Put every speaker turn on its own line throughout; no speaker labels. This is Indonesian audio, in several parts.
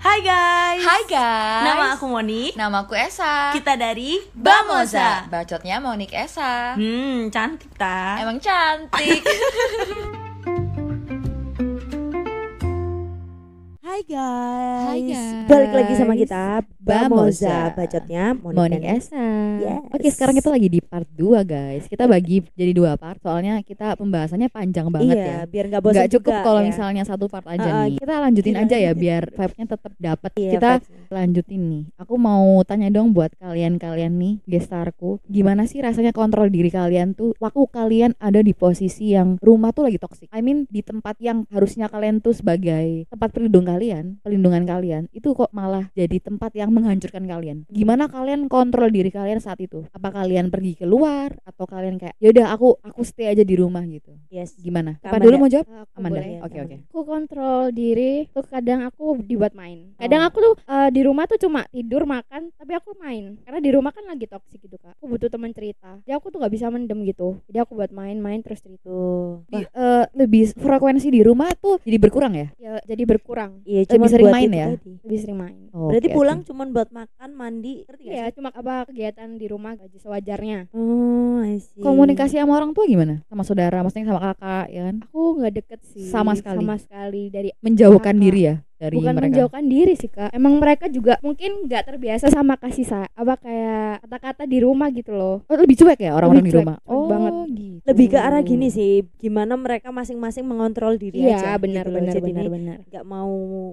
Hai guys.
Hai guys.
Nama aku Moni.
Nah.
Nama aku Esa.
Kita dari
Bamoza. Bacotnya Monik Esa.
Hmm, cantik
Nah.
ta.
Emang cantik.
Hai guys.
Hai, guys.
Balik lagi sama kita Bamoza,
Bamoza.
bacotnya Moni
Morning
dan-
Esa.
Yes.
Oke, sekarang kita lagi di part 2, guys. Kita bagi jadi dua part soalnya kita pembahasannya panjang banget
Iya,
ya.
biar nggak bosan
Nggak cukup
juga
kalau
ya.
misalnya satu part aja
Uh-uh,
nih. Kita lanjutin
kita
aja ya
lanjutin.
biar vibe-nya tetap dapat.
Iya,
kita
Feb.
lanjutin nih. Aku mau tanya dong buat kalian-kalian nih, gestarku. Gimana sih rasanya kontrol diri kalian tuh waktu kalian ada di posisi yang rumah tuh lagi toksik. I mean di tempat yang harusnya kalian tuh sebagai tempat pelindung kalian, pelindungan kalian, itu kok malah jadi tempat yang menghancurkan kalian. Gimana kalian kontrol diri kalian saat itu? Apa kalian pergi keluar atau kalian kayak yaudah aku aku stay aja di rumah gitu.
Yes.
Gimana? Apa
Amanda.
dulu mau jawab?
Eh, Aku
Amanda.
boleh.
Oke, oke.
Aku kontrol diri. Tuh kadang aku dibuat main. Kadang aku tuh eh, di rumah tuh cuma tidur makan, tapi aku main. Karena di rumah kan lagi toksik gitu kak. Aku butuh teman cerita. Jadi aku tuh nggak bisa mendem gitu. Jadi aku buat main-main terus cerita.
Tuh.
Di- eh, lebih frekuensi di rumah tuh jadi berkurang ya?
Ya, jadi berkurang.
Iya,
Lebih
cuma
sering
buat
main
itu
ya?
tadi.
Lebih sering main.
Berarti
Oke, oke.
pulang cuman buat makan, mandi, ngerti nggak
Iya,
sih?
cuma apa kegiatan di rumah gaji sewajarnya.
Oh, I see.
komunikasi sama orang tua gimana? Sama saudara, maksudnya sama kakak, ya kan?
Aku nggak deket sih.
Sama sekali.
Sama sekali dari
Menjauhkan
Kakak.
diri ya dari
bukan
mereka.
menjauhkan diri sih kak. Emang mereka juga mungkin nggak terbiasa sama kasih sayang. Apa kayak kata-kata di rumah gitu loh.
Oh, lebih cuek ya orang-orang di
Lebih cuek,
rumah.
cuek banget.
gitu.
lebih ke arah gini sih, gimana mereka masing-masing mengontrol diri aja.
Iya benar
gitu loh.
benar
Jadi
benar
ini
benar.
nggak mau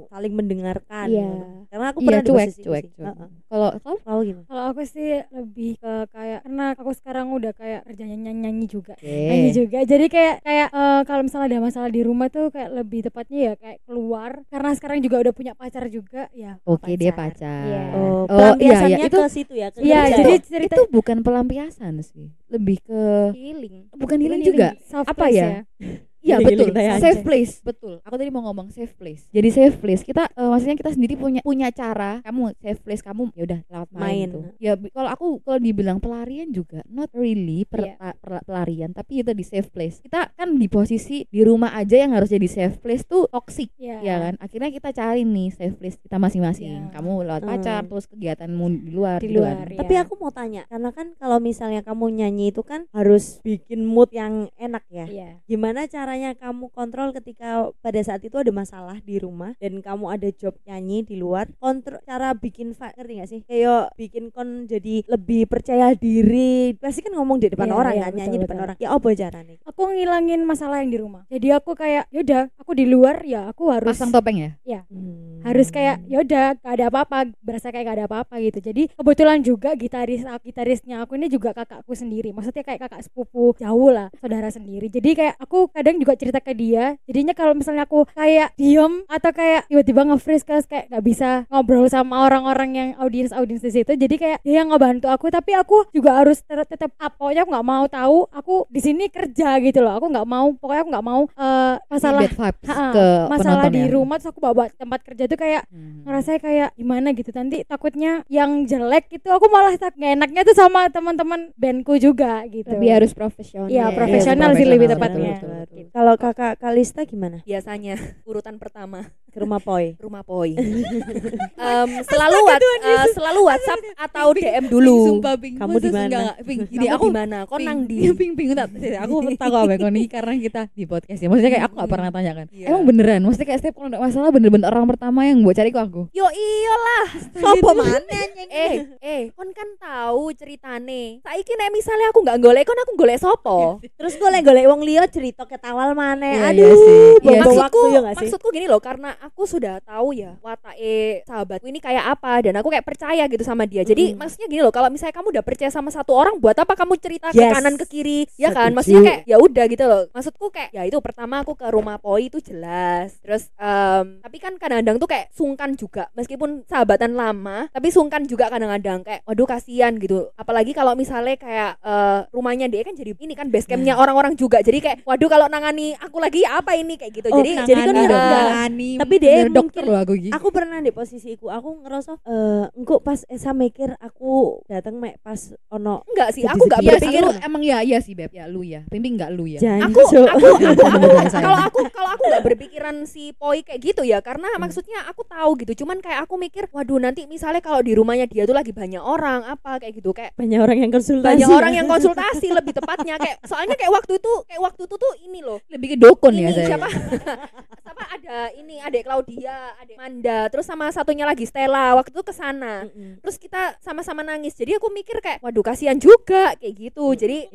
saling mendengarkan.
Iya.
gitu. Karena aku
Iya,
pernah di
cuek,
posisi itu
cuek,
sih.
cuek.
Heeh.
Kalau kamu
Kalau gimana?
Kalau aku sih lebih ke kayak karena aku sekarang udah kayak kerjanya nyanyi, nyanyi juga. Nyanyi
Oke.
juga. Jadi kayak kayak eh, kalau misalnya ada masalah di rumah tuh kayak lebih tepatnya ya kayak keluar karena sekarang juga udah punya pacar juga ya.
Oke, dia pacar.
Iya.
Oh,
iya,
pelampiasannya
iya, itu-
ke situ ya. ke
Iya,
kerja.
jadi
Itu-
cerita
itu bukan pelampiasan sih. Lebih ke
Healing.
bukan healing juga.
soft
apa
place
ya? Iya
Healing
betul.
kita ya.
Safe place, betul. Aku tadi mau ngomong safe place. Jadi safe place kita eh, maksudnya kita sendiri punya punya cara. Kamu safe place kamu ya udah lewat main,
Main.
gitu. Ya bi- kalau aku kalau dibilang pelarian juga not really per-
Iya.
pa- per- pelarian, tapi itu di safe place. Kita kan di posisi di rumah aja yang harus jadi safe place tuh toxic.
Iya.
Ya kan, akhirnya kita cari nih safe place kita masing-masing.
Iya.
Kamu lewat
Hmm.
pacar, terus kegiatanmu di luar,
Di
gitu
luar.
kan.
ya.
Tapi aku mau tanya, karena kan kalau misalnya kamu nyanyi itu kan harus bikin mood yang enak ya.
Iya.
Gimana caranya kamu kontrol ketika pada saat itu ada masalah di rumah dan kamu ada job nyanyi di luar? Kontrol cara bikin fa- ngerti gak sih? Kayak bikin kon jadi lebih percaya diri. Pasti kan ngomong di depan
Iya,
orang
iya,
kan,
betul,
nyanyi di depan
betul.
orang. Ya apa caranya?
Aku ngilangin masalah yang di rumah. Jadi aku kayak yaudah aku di luar ya aku harus
Pasang topeng ya.
harus kayak yaudah gak ada apa-apa berasa kayak gak ada apa-apa gitu jadi kebetulan juga gitaris ah, gitarisnya aku ini juga kakakku sendiri maksudnya kayak kakak sepupu jauh lah saudara sendiri jadi kayak aku kadang juga cerita ke dia jadinya kalau misalnya aku kayak diem atau kayak tiba-tiba nge-freeze kayak kayak gak bisa ngobrol sama orang-orang yang audiens audiens di situ jadi kayak dia yang ngebantu aku tapi aku juga harus ter- tetap apa pokoknya aku nggak mau tahu aku di sini kerja gitu loh aku nggak mau pokoknya aku nggak mau eh, masalah
Bad vibes
Ha-ha,
ke
masalah
penonton
di
ya.
rumah terus aku bawa tempat kerja tuh kayak
Hmm.
ngerasa kayak gimana gitu nanti takutnya yang jelek gitu aku malah tak nggak enaknya tuh sama teman-teman bandku juga gitu
Lebih harus profesional.
Iya,
ya.
profesional sih lebih
profesional,
tepatnya.
betul, betul, betul.
Kalau kakak Kalista gimana?
biasanya urutan pertama
Ke rumah poi.
rumah poi Em, selalu wat, eh, selalu WhatsApp atau DM dulu
Ping, sumpah, Ping.
Kamu
Masa
di mana?
enggak, enggak, Ping. Gini,
Kamu
aku
di mana kok nang di
ping ping tak aku tahu apa yang kau ini karena kita di podcast ya maksudnya kayak aku gak pernah tanyakan
Iya.
emang beneran maksudnya kayak setiap kalau ada masalah bener-bener orang pertama yang buat cari kok aku
yo iyalah
Sopo mana?
eh eh kon kan tahu ceritane saiki nek misalnya aku nggak golek kon aku golek sopo
Terus golek-golek wong liya cerita ketawal mana?
Iya,
Aduh,
iya sih. Iya
bobo waktu
sih.
maksudku
ya gak sih?
maksudku gini loh karena aku sudah tahu ya watae sahabatku ini kayak apa dan aku kayak percaya gitu sama dia jadi
Mm-mm.
maksudnya gini loh kalau misalnya kamu udah percaya sama satu orang buat apa kamu cerita ke
Yes.
kanan ke kiri ya
Setuju.
kan maksudnya kayak ya udah gitu loh maksudku kayak ya itu pertama aku ke rumah poi itu jelas terus em, tapi kan kadang-kadang tuh kayak sungkan juga meskipun sahabatan lama tapi sungkan juga kadang-kadang kayak waduh kasihan gitu apalagi kalau misalnya kayak eh, rumahnya dia kan jadi ini kan base
Nah.
campnya orang-orang juga jadi kayak waduh kalau nangani aku lagi ya apa ini kayak gitu
Oh,
jadi
Jadi kan
Nangani
udah-
dong,
udah-
nangani.
tapi dia
Bener dokter
mungkin-
loh aku gitu
aku pernah di posisiku aku ngerasa eh engko pas Esa mikir aku dateng mek pas ono
enggak sih
Sedih-
aku nggak
sedih.
Iya,
Tapi
sih,
berpikir
lu emang ya iya sih beb ya lu ya pimpin nggak lu
Iya.
ya
janji
aku aku
Cuk.
Hmm.
aku- aku- kalau aku kalau aku nggak berpikiran si poi kayak gitu ya karena maksudnya sebenarnya aku tahu gitu cuman kayak aku mikir waduh nanti misalnya kalau di rumahnya dia tuh lagi banyak orang apa kayak gitu kayak
banyak orang yang konsultasi
banyak orang yang
konsultasi
konsultasi lebih tepatnya kayak soalnya kayak waktu itu kayak waktu itu tuh ini loh
lebih ke dokun
ini
ya saya
siapa siapa ada ini adek Claudia adek Manda terus sama satunya lagi Stella waktu itu ke sana terus kita sama-sama nangis jadi aku mikir kayak waduh kasihan juga kayak gitu jadi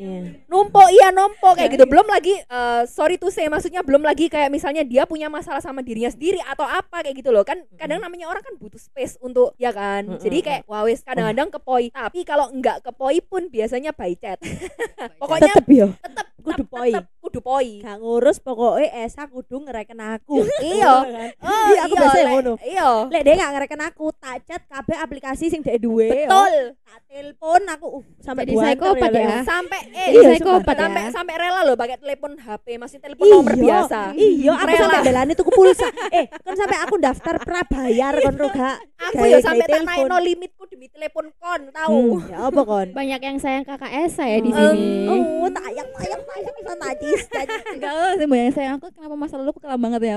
numpuk iya numpuk kayak gitu belum lagi eh, sorry to say maksudnya belum lagi kayak misalnya dia punya masalah sama dirinya sendiri atau apa kayak gitu loh kan kadang namanya orang kan butuh space untuk ya kan
Mm-mm.
jadi kayak wawes kadang-kadang kepoi tapi kalau enggak kepoi pun biasanya by chat pokoknya
tetep yo
tetep
kudu
tetep-
poi.
tetep kudu poi
gak ngurus pokoknya Esa kudu ngereken aku
Iya.
kan?
Oh,
Iya, aku biasanya
Lek.
ngono.
iya
lek dia gak ngereken aku tak chat kabeh aplikasi sing dek duwe yo.
Iya,
betul
tak telepon aku uh, sampai
Jadi
buanter
psikopat
Lek.
ya.
sampai eh
Iya,
sampai-
psikopat ya.
sampai sampai rela loh pakai telepon HP masih telepon nomor
Iya,
biasa
iya aku
Rela.
sampai belani tuku pulsa eh kan sampai aku daftar prabayar kan, kon roga
aku ya
Gaya-gaya
sampai tak
telepon.
naikno limitku demi telepon kon tahu
hmm, ya apa kon
Banyak yang sayang kakak Esa ya di
Hmm.
sini.
oh tak ayak tak ayak tak ayak bisa najis najis.
enggak lah sih yang saya aku kenapa masa lalu aku kelam banget ya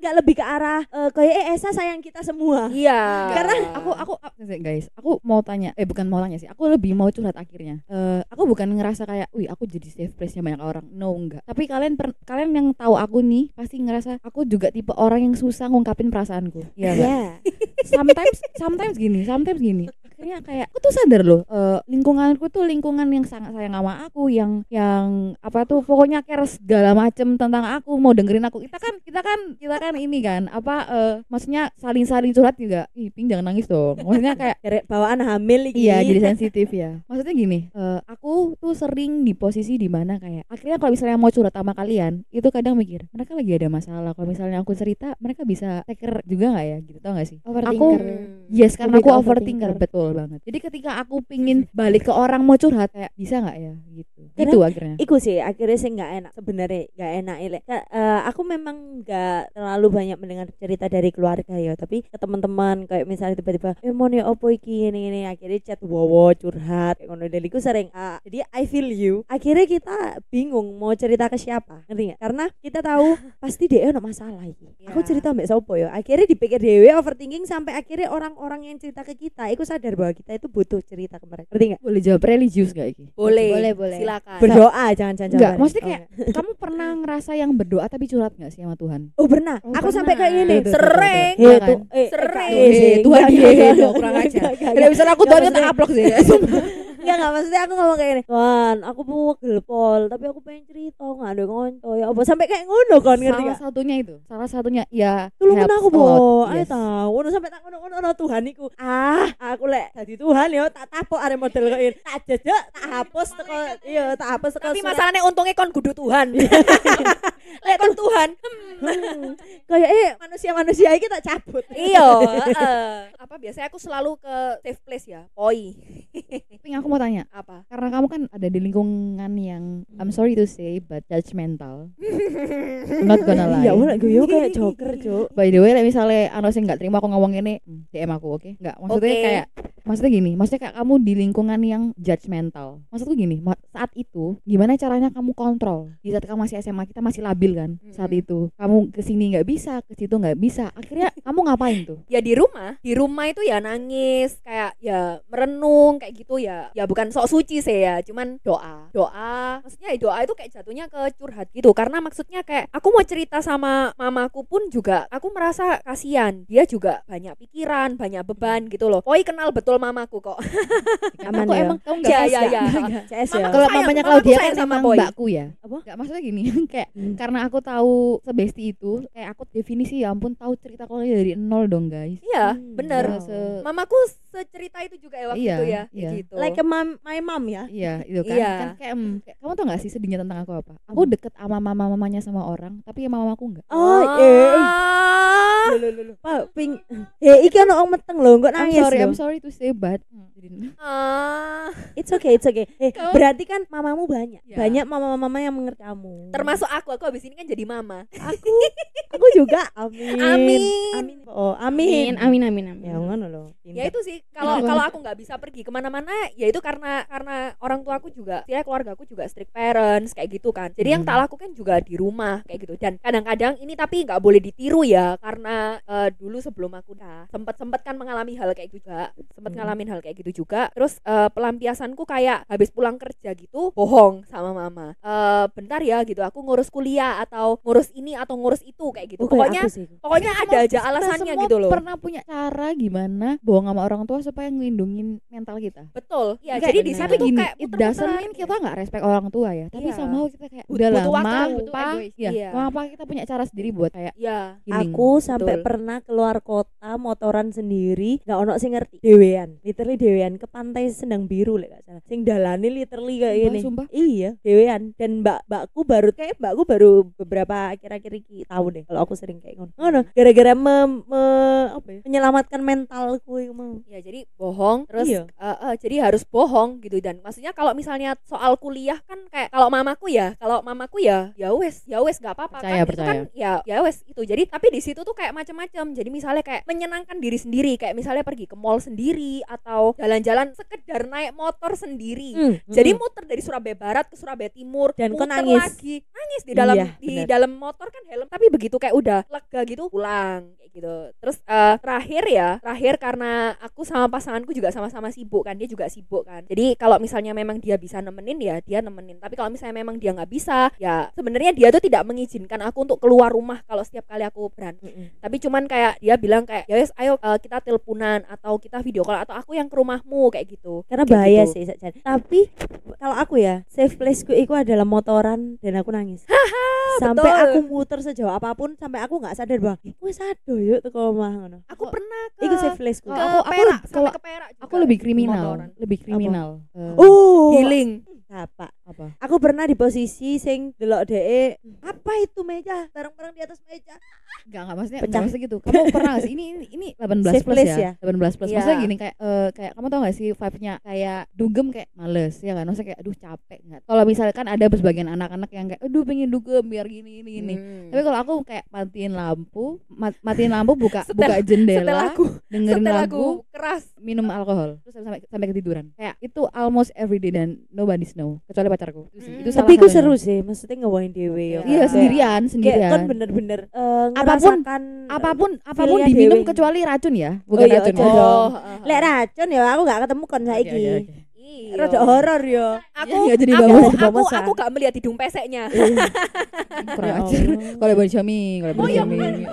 nggak lebih ke arah eh, kayak eh, Esa sayang kita semua
Iya.
Karena
aku aku aku- guys aku mau tanya eh bukan mau tanya sih aku lebih mau curhat akhirnya Eh, aku bukan ngerasa kayak wih aku jadi safe place nya banyak orang no enggak tapi kalian per- kalian yang tahu aku nih pasti ngerasa aku juga tipe orang yang susah ngungkapin perasaanku iya enggak?
ya
sometimes sometimes gini sometimes gini akhirnya kayak aku tuh sadar loh eh, lingkunganku tuh lingkungan yang sangat sayang sama aku yang yang apa tuh pokoknya care segala macem tentang aku mau dengerin aku kita kan kita kan kita kan ini kan apa eh, maksudnya saling saling curhat juga ih ping jangan nangis dong maksudnya kayak
Gerek bawaan hamil iki
Iya jadi sensitif ya Maksudnya gini eh, Aku tuh sering di posisi dimana kayak Akhirnya kalau misalnya mau curhat sama kalian Itu kadang mikir Mereka lagi ada masalah Kalau misalnya aku cerita Mereka bisa taker juga gak ya gitu tau gak sih Aku
Overthinker.
Yes, karena
Lebih
aku
ke
overthinker
overthinker.
betul banget. Jadi ketika aku pingin balik ke orang mau curhat kayak bisa nggak ya gitu.
Karena-
Itu akhirnya.
Iku sih akhirnya sih nggak enak sebenarnya nggak enak Lek. Ka- eh, aku memang nggak terlalu banyak mendengar cerita dari keluarga ya tapi ke teman-teman kayak misalnya tiba-tiba eh mau nih opo iki ini ini akhirnya chat wowo curhat kayak ngono dari sering ah, jadi I feel you akhirnya kita bingung mau cerita ke siapa ngerti nggak karena kita tahu pasti dia ono masalah iki aku
Iya.
cerita mbak sopo ya akhirnya dipikir dewe overthinking sampai akhirnya orang-orang yang cerita ke kita Iku sadar bahwa kita itu butuh cerita ke mereka ngerti nggak
Boleh jawab religius gak iki?
Boleh.
Boleh, boleh.
Silakan.
berdoa jangan-jangan
Enggak,
jangan.
maksudnya
Oh,
kayak kamu pernah ngerasa yang berdoa tapi curhat nggak sih sama Tuhan?
Oh pernah,
Oh, pernah.
aku sampai kayak gini.
Tuh, tuh, tuh, tuh, tuh.
Sering.
Iya
Eh,
kan?
tuh, eh,
Sering.
eh, enggak,
Eh,
enggak,
Tuhan
enggak,
dia
enggak,
gitu,
enggak,
kurang
enggak,
aja.
enggak,
Enggak bisa aku
Nggak,
Tuhan tak
maksudnya-
aplok sih. ya.
Enggak, enggak, maksudnya aku ngomong kayak gini. Wan, aku pegel pol, tapi aku pengen cerita, enggak ada konco ya apa sampai kayak ngono kan ngerti
Salah
enggak?
satunya itu. Salah satunya ya
Tolongin
helps
aku,
a
Bo.
lot,
Ayo
yes.
tau, ngono sampai tak ngono-ngono no, Tuhan iku. Ah, aku lek dadi Tuhan ya tak tapok arek model kok ini. Tak jejek, tak hapus teko iya, tak hapus teko.
Tapi
surat. Iya.
masalahnya untungnya kon kudu Tuhan. Lek kon Tuhan.
Hmm, kayak eh manusia-manusia iki tak cabut.
Iya, heeh. Apa biasanya aku selalu ke safe place ya, poi.
Tapi aku mau tanya,
Apa?
karena kamu kan ada di lingkungan yang I'm
Hmm.
sorry to say but judgmental. Not gonna lie.
Ya
Iya,
udah gue yo kayak joker, Cuk.
By the way, like, misalnya anu sih nggak terima aku ngomong ini, hmm, DM aku, oke? Nggak, maksudnya
Oke.
kayak, maksudnya gini, maksudnya kayak kamu di lingkungan yang judgmental. Maksudku gini, ma- saat itu gimana caranya kamu kontrol? Di saat kamu masih SMA kita masih labil kan, saat
Mm-mm.
itu kamu kesini nggak bisa, ke situ nggak bisa. Akhirnya kamu ngapain tuh?
Ya di rumah, di rumah itu ya nangis, kayak ya merenung kayak gitu ya. Ya bukan sok suci sih ya, cuman doa. Doa. Maksudnya ya doa itu kayak jatuhnya ke curhat gitu karena maksudnya kayak aku mau cerita sama mamaku pun juga aku merasa kasihan. Dia juga banyak pikiran, banyak beban gitu loh. Poi kenal betul mamaku kok.
Aman
aku
ya.
emang kamu nggak
Ya ya ya.
CS
Mama
ya.
Kalau
sayang-
mamanya
mamaku
Claudia kan
sayang sama
emang
Boy.
mbakku ya.
Apa?
Nggak, maksudnya gini, kayak
Hmm.
karena aku tahu sebesti itu, kayak aku definisi ya ampun tahu cerita Claudia dari nol dong guys.
Iya,
Hmm.
bener.
Wow.
Se-
Mamaku secerita itu juga ya waktu
Iya,
itu ya,
iya.
gitu.
Like a mom, my mom ya.
Iya, itu kan.
Iya. Hmm.
Kan kayak, em, kayak, kamu tau gak sih sedihnya tentang aku apa? Aku deket sama mama mamanya sama orang, tapi sama mamaku enggak.
Oh, eh.
Ah.
Lho lho lho, lho. Pak ping. Eh iki ono wong meteng lho, kok
I'm
nangis
sorry,
lho.
I'm sorry to say but
Hmm.
jadi-
Ah,
It's okay, it's okay. Eh,
Kamu-
berarti kan mamamu banyak.
Ya.
Banyak mama-mama yang mengerti kamu.
termasuk aku, aku habis ini kan jadi mama.
aku. aku juga. Amin.
Amin.
Amin. Oh,
Amin, amin,
amin.
amin, amin.
Ya ngono lho.
ya itu sih kalau
Kenapa?
kalau aku nggak bisa pergi kemana-mana ya itu karena karena orang tua aku juga ya keluarga aku juga strict parents kayak gitu kan jadi yang tak lakukan juga di rumah kayak gitu dan kadang-kadang ini tapi nggak boleh ditiru ya karena eh, dulu sebelum aku dah sempat sempat kan mengalami hal kayak gitu juga sempat
Hmm.
ngalamin hal kayak gitu juga terus eh, pelampiasanku kayak habis pulang kerja gitu bohong sama mama Eh, bentar ya gitu aku ngurus kuliah atau ngurus ini atau ngurus itu kayak gitu
Oh, kayak
pokoknya
aku sih.
pokoknya ada aja
Kita
alasannya
Nah, semua
gitu loh
pernah punya cara gimana bohong sama orang tua supaya ngelindungin mental kita
betul ya
Kayak-
jadi di
Tapi
situ
gini,
kayak
it
muter-muteran.
doesn't mean kita nggak respect orang tua ya tapi
Iya.
somehow kita kayak
But-
udah lah
butuh waktu,
butuh
apa
egois.
ya
Iya.
apa kita punya cara sendiri buat kayak
ya
healing.
Aku sampai
Betul.
pernah keluar kota motoran sendiri, nggak ono sing ngerti. Dewean, literally dewean ke pantai Sendang Biru lek nggak salah. Sing dalane literally kayak
Sumpah,
gini.
sumpah.
Iya, dewean. Dan mbak mbakku baru kayak mbakku baru beberapa akhir-akhir iki tahun deh. Kalau aku sering kayak ngono. Ngono,
Hmm.
gara-gara me- me- apa ya, menyelamatkan mentalku iku mau.
ya jadi bohong terus
Iya.
eh, eh, jadi harus bohong gitu dan maksudnya kalau misalnya soal kuliah kan kayak kalau mamaku ya kalau mamaku ya ya wes ya wes nggak apa-apa
Percaya,
kan itu kan ya ya wes itu jadi tapi di situ tuh kayak macam-macam jadi misalnya kayak menyenangkan diri sendiri kayak misalnya pergi ke mall sendiri atau jalan-jalan sekedar naik motor sendiri
Hmm.
Mm,
Jadi
mm.
muter dari Surabaya Barat ke Surabaya Timur
Dan kok
muter
nangis?
lagi nangis di dalam
Iya,
di
benar.
dalam motor kan helm tapi begitu kayak udah lega gitu pulang kayak gitu terus eh, terakhir ya terakhir karena aku sama pasanganku juga sama-sama sibuk kan dia juga sibuk kan jadi kalau misalnya memang dia bisa nemenin ya dia nemenin tapi kalau misalnya memang dia nggak bisa ya sebenarnya dia tuh tidak mengizinkan aku untuk keluar rumah kalau setiap kali aku berangkat
Mm-mm.
tapi cuman kayak dia bilang kayak ya wes, ayo eh, kita teleponan atau kita video call atau aku yang ke rumahmu kayak gitu
karena
Kayak
bahaya
gitu.
sih Sak Jan. tapi kalau aku ya safe place gue itu adalah motoran dan aku nangis sampai
betul.
aku muter sejauh apapun sampai aku nggak sadar bahwa "Ih, gue sado yuk teko omah ngono
aku pernah Oh. ke
itu safe place gue
Ke-
Kalau
aku-
aku, perak,
aku-
sampai
kalau-
ke perak juga.
aku lebih kriminal
Motoran.
lebih kriminal Eh,
oh
Healing.
apa
apa
aku pernah di posisi sing delok dee
Hmm.
apa itu meja barang-barang di atas meja
Enggak, enggak maksudnya
Pecah.
enggak maksudnya gitu. Kamu pernah gak sih ini ini, ini 18
Safe
plus
place
ya? 18 plus.
Iya.
Maksudnya gini kayak eh, kayak kamu tau gak sih vibe-nya kayak dugem kayak males ya kan? Maksudnya kayak aduh capek enggak. Kalau misalkan ada sebagian anak-anak yang kayak aduh pengen dugem biar gini ini ini.
Hmm.
Tapi kalau aku kayak matiin lampu, mat- matiin lampu buka
Setelah-
buka jendela,
setelah aku
dengerin
setelah
lagu,
aku keras
minum alkohol, terus sampai sampai ketiduran. Kayak itu almost every day dan nobody's know kecuali pacarku. Itu, sih, itu
Hmm. tapi
salah
gue
satunya.
seru sih maksudnya ngewain dewe yo.
Iya,
Iya,
Kayak-
sendirian,
kayak
Iya.
sendirian.
kan bener-bener eh,
Apapun-
ngerasakan
apapun
Iya,
apapun
Feel-nya
diminum
dewe.
kecuali racun ya,
Oh
bukan
iya,
racun.
ojo.
ya.
Oh,
lek
lek racun ya aku nggak ketemu kon
Oke,
saiki
oke, oke.
iya.
rada horor yo
aku
Iya, jadi
aku,
bagus.
aku
Bagus, ya.
aku gak melihat hidung peseknya
Kurang
Ya
ajar.
Allah.
Kalau buat Jami, kalau buat
Oh, iya,
Jami.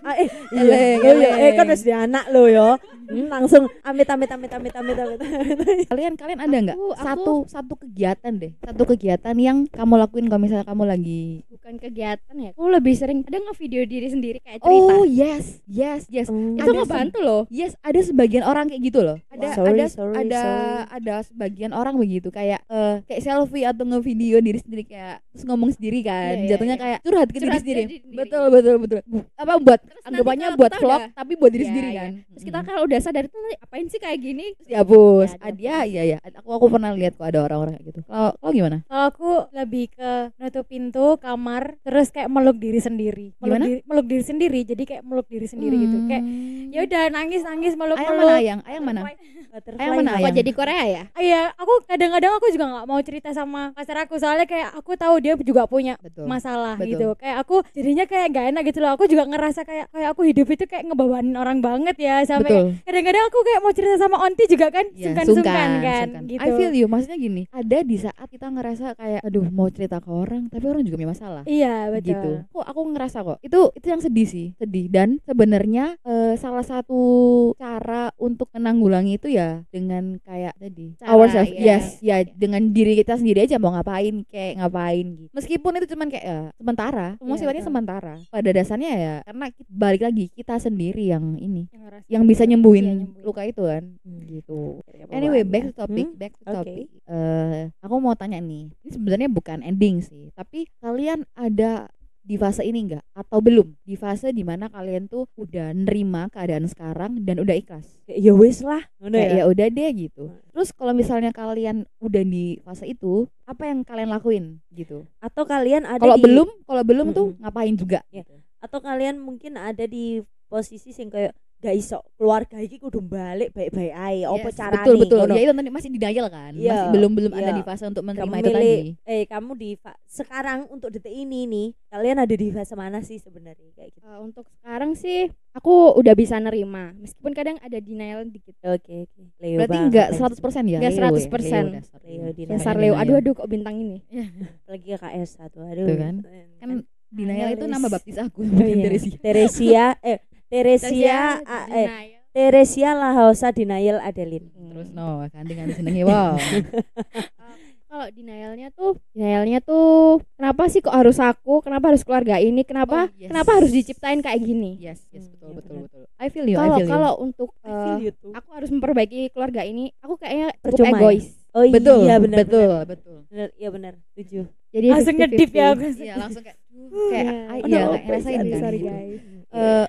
Ah, eh,
Eleng,
iya, iya, eh
eleng.
kan harus dia anak lo yo. Hmm, langsung amit amit amit amit amit amit.
Kalian kalian ada nggak
Aku- aku-
satu satu kegiatan deh, satu kegiatan yang kamu lakuin kalau misalnya kamu lagi
bukan kegiatan ya aku lebih sering ada ngevideo diri sendiri kayak cerita
Oh yes, yes, yes.
Hmm.
itu
ada
ngebantu loh
Yes, ada sebagian orang kayak gitu loh. Ada
Wow. Sorry,
ada
sorry,
ada
sorry.
ada sebagian orang begitu kayak eh, kayak selfie atau ngevideo diri sendiri kayak terus ngomong sendiri kan.
Iya, iya,
Jatuhnya
iya.
kayak curhat ke diri
Curhat ke
sendiri.
diri sendiri.
Betul, betul, betul. Bu- Apa buat
Terus nanti
anggapannya
kalau
buat
kita
vlog
udah-
tapi buat diri
Iya,
sendiri
iya.
kan.
terus kita kalau udah sadar tuh apain sih kayak gini
Terus dihapus.
Ya,
Ada ya ya. Aku aku pernah lihat kok ada orang-orang kayak gitu. Kalau kalau gimana?
Kalau aku lebih ke nutup pintu kamar terus kayak meluk diri sendiri. Meluk
Gimana?
diri, meluk diri sendiri. Jadi kayak meluk diri sendiri gitu.
Hmm.
Kayak ya udah nangis nangis meluk
Hmm. ayang mana
meluk.
ayang? Ayang mana?
Butterfly
Ayang mana
vibe.
ayang?
kok jadi Korea ya
Iya, aku kadang-kadang aku juga nggak mau cerita sama pacar aku soalnya kayak aku tahu dia juga punya
Betul.
masalah
Betul.
gitu kayak aku jadinya kayak gak enak gitu loh aku juga ngerasa kayak kayak aku hidup itu kayak ngebawain orang banget ya
Betul.
sampai kayak- kadang-kadang aku kayak mau cerita sama onti juga kan
Iya,
sungkan-sungkan kan
sungkan.
gitu
I feel you. Maksudnya gini, ada di saat kita ngerasa kayak aduh mau cerita ke orang tapi orang juga punya masalah.
iya betul
gitu. Kok aku ngerasa kok. Itu itu yang sedih sih, sedih dan sebenarnya eh, salah satu cara untuk menanggulangi itu ya dengan kayak tadi
Cara,
ourselves.
ya.
Yes, ya dengan diri kita sendiri aja mau ngapain kayak ngapain gitu. Meskipun itu cuman kayak ya, sementara, semua
Iya,
sifatnya
betul.
sementara. Pada dasarnya ya karena ki- balik lagi kita sendiri yang ini
yang, ngerasa
yang bisa nyembuhin,
Iya, nyembuhin.
luka itu kan
Hmm.
gitu. Anyway, back to topic,
Hmm,
back to
oke.
topic. Eh, aku mau tanya nih. Ini sebenarnya bukan ending sih, tapi kalian ada di fase ini enggak atau belum? Di fase dimana kalian tuh udah nerima keadaan sekarang dan udah ikhlas.
Kayak, ya wis lah ngono
Kayak
ya.
ya udah deh gitu. Terus kalau misalnya kalian udah di fase itu, apa yang kalian lakuin gitu?
Atau kalian ada
Kalau
di-
belum, kalau belum tuh
Mm-mm. Iya.
ngapain juga?
atau kalian mungkin ada di posisi sing kayak gak iso keluarga iki kudu balik baik-baik ae apa
Yes,
carane
betul betul
Oh, ngono.
ya itu tadi masih denial kan
Iya,
masih belum belum ada
iya.
di fase untuk menerima
kamu
itu
milih,
tadi
eh kamu di fa- sekarang untuk detik ini nih kalian ada di fase mana sih sebenarnya kayak gitu
Eh, untuk sekarang sih aku udah bisa nerima meskipun kadang ada denial dikit
oke oke Leo
berarti
banget,
nggak
Leo.
100% ya
Nggak
Leo ya?
100%.
Leo dasar
Leo
Leo.
Ya,
denial.
dasar
Dasar
Leo
denial.
aduh aduh kok bintang ini
lagi KKS satu aduh
Tuh kan.
Eh,
kan denial itu
Teres.
nama baptis
Oh,
aku bukan
iya.
Teresia.
Teresia eh Teresia ah, eh
ya,
E.
denial.
Teresia Lahosa Denial Adeline
terus no kan dengan senengnya wow
kalau denialnya tuh denialnya tuh kenapa sih kok harus aku kenapa harus keluarga ini kenapa
Oh, yes.
kenapa harus diciptain kayak gini
yes yes
Hmm, iya
betul betul
benar.
betul I feel you I
kalau
feel you
kalau untuk
I feel
eh,
you too.
aku harus memperbaiki keluarga ini aku kayaknya cukup
Percuma ya?
egois
oh
betul
iya benar
betul betul
benar iya benar setuju
jadi
langsung ngedip ya
50-50.
aku
iya langsung kayak kayak
Iya.
I-
Oh,
iya
no,
kayak ngerasain
sorry,
kan
sorry,
gitu.
guys.
Eh,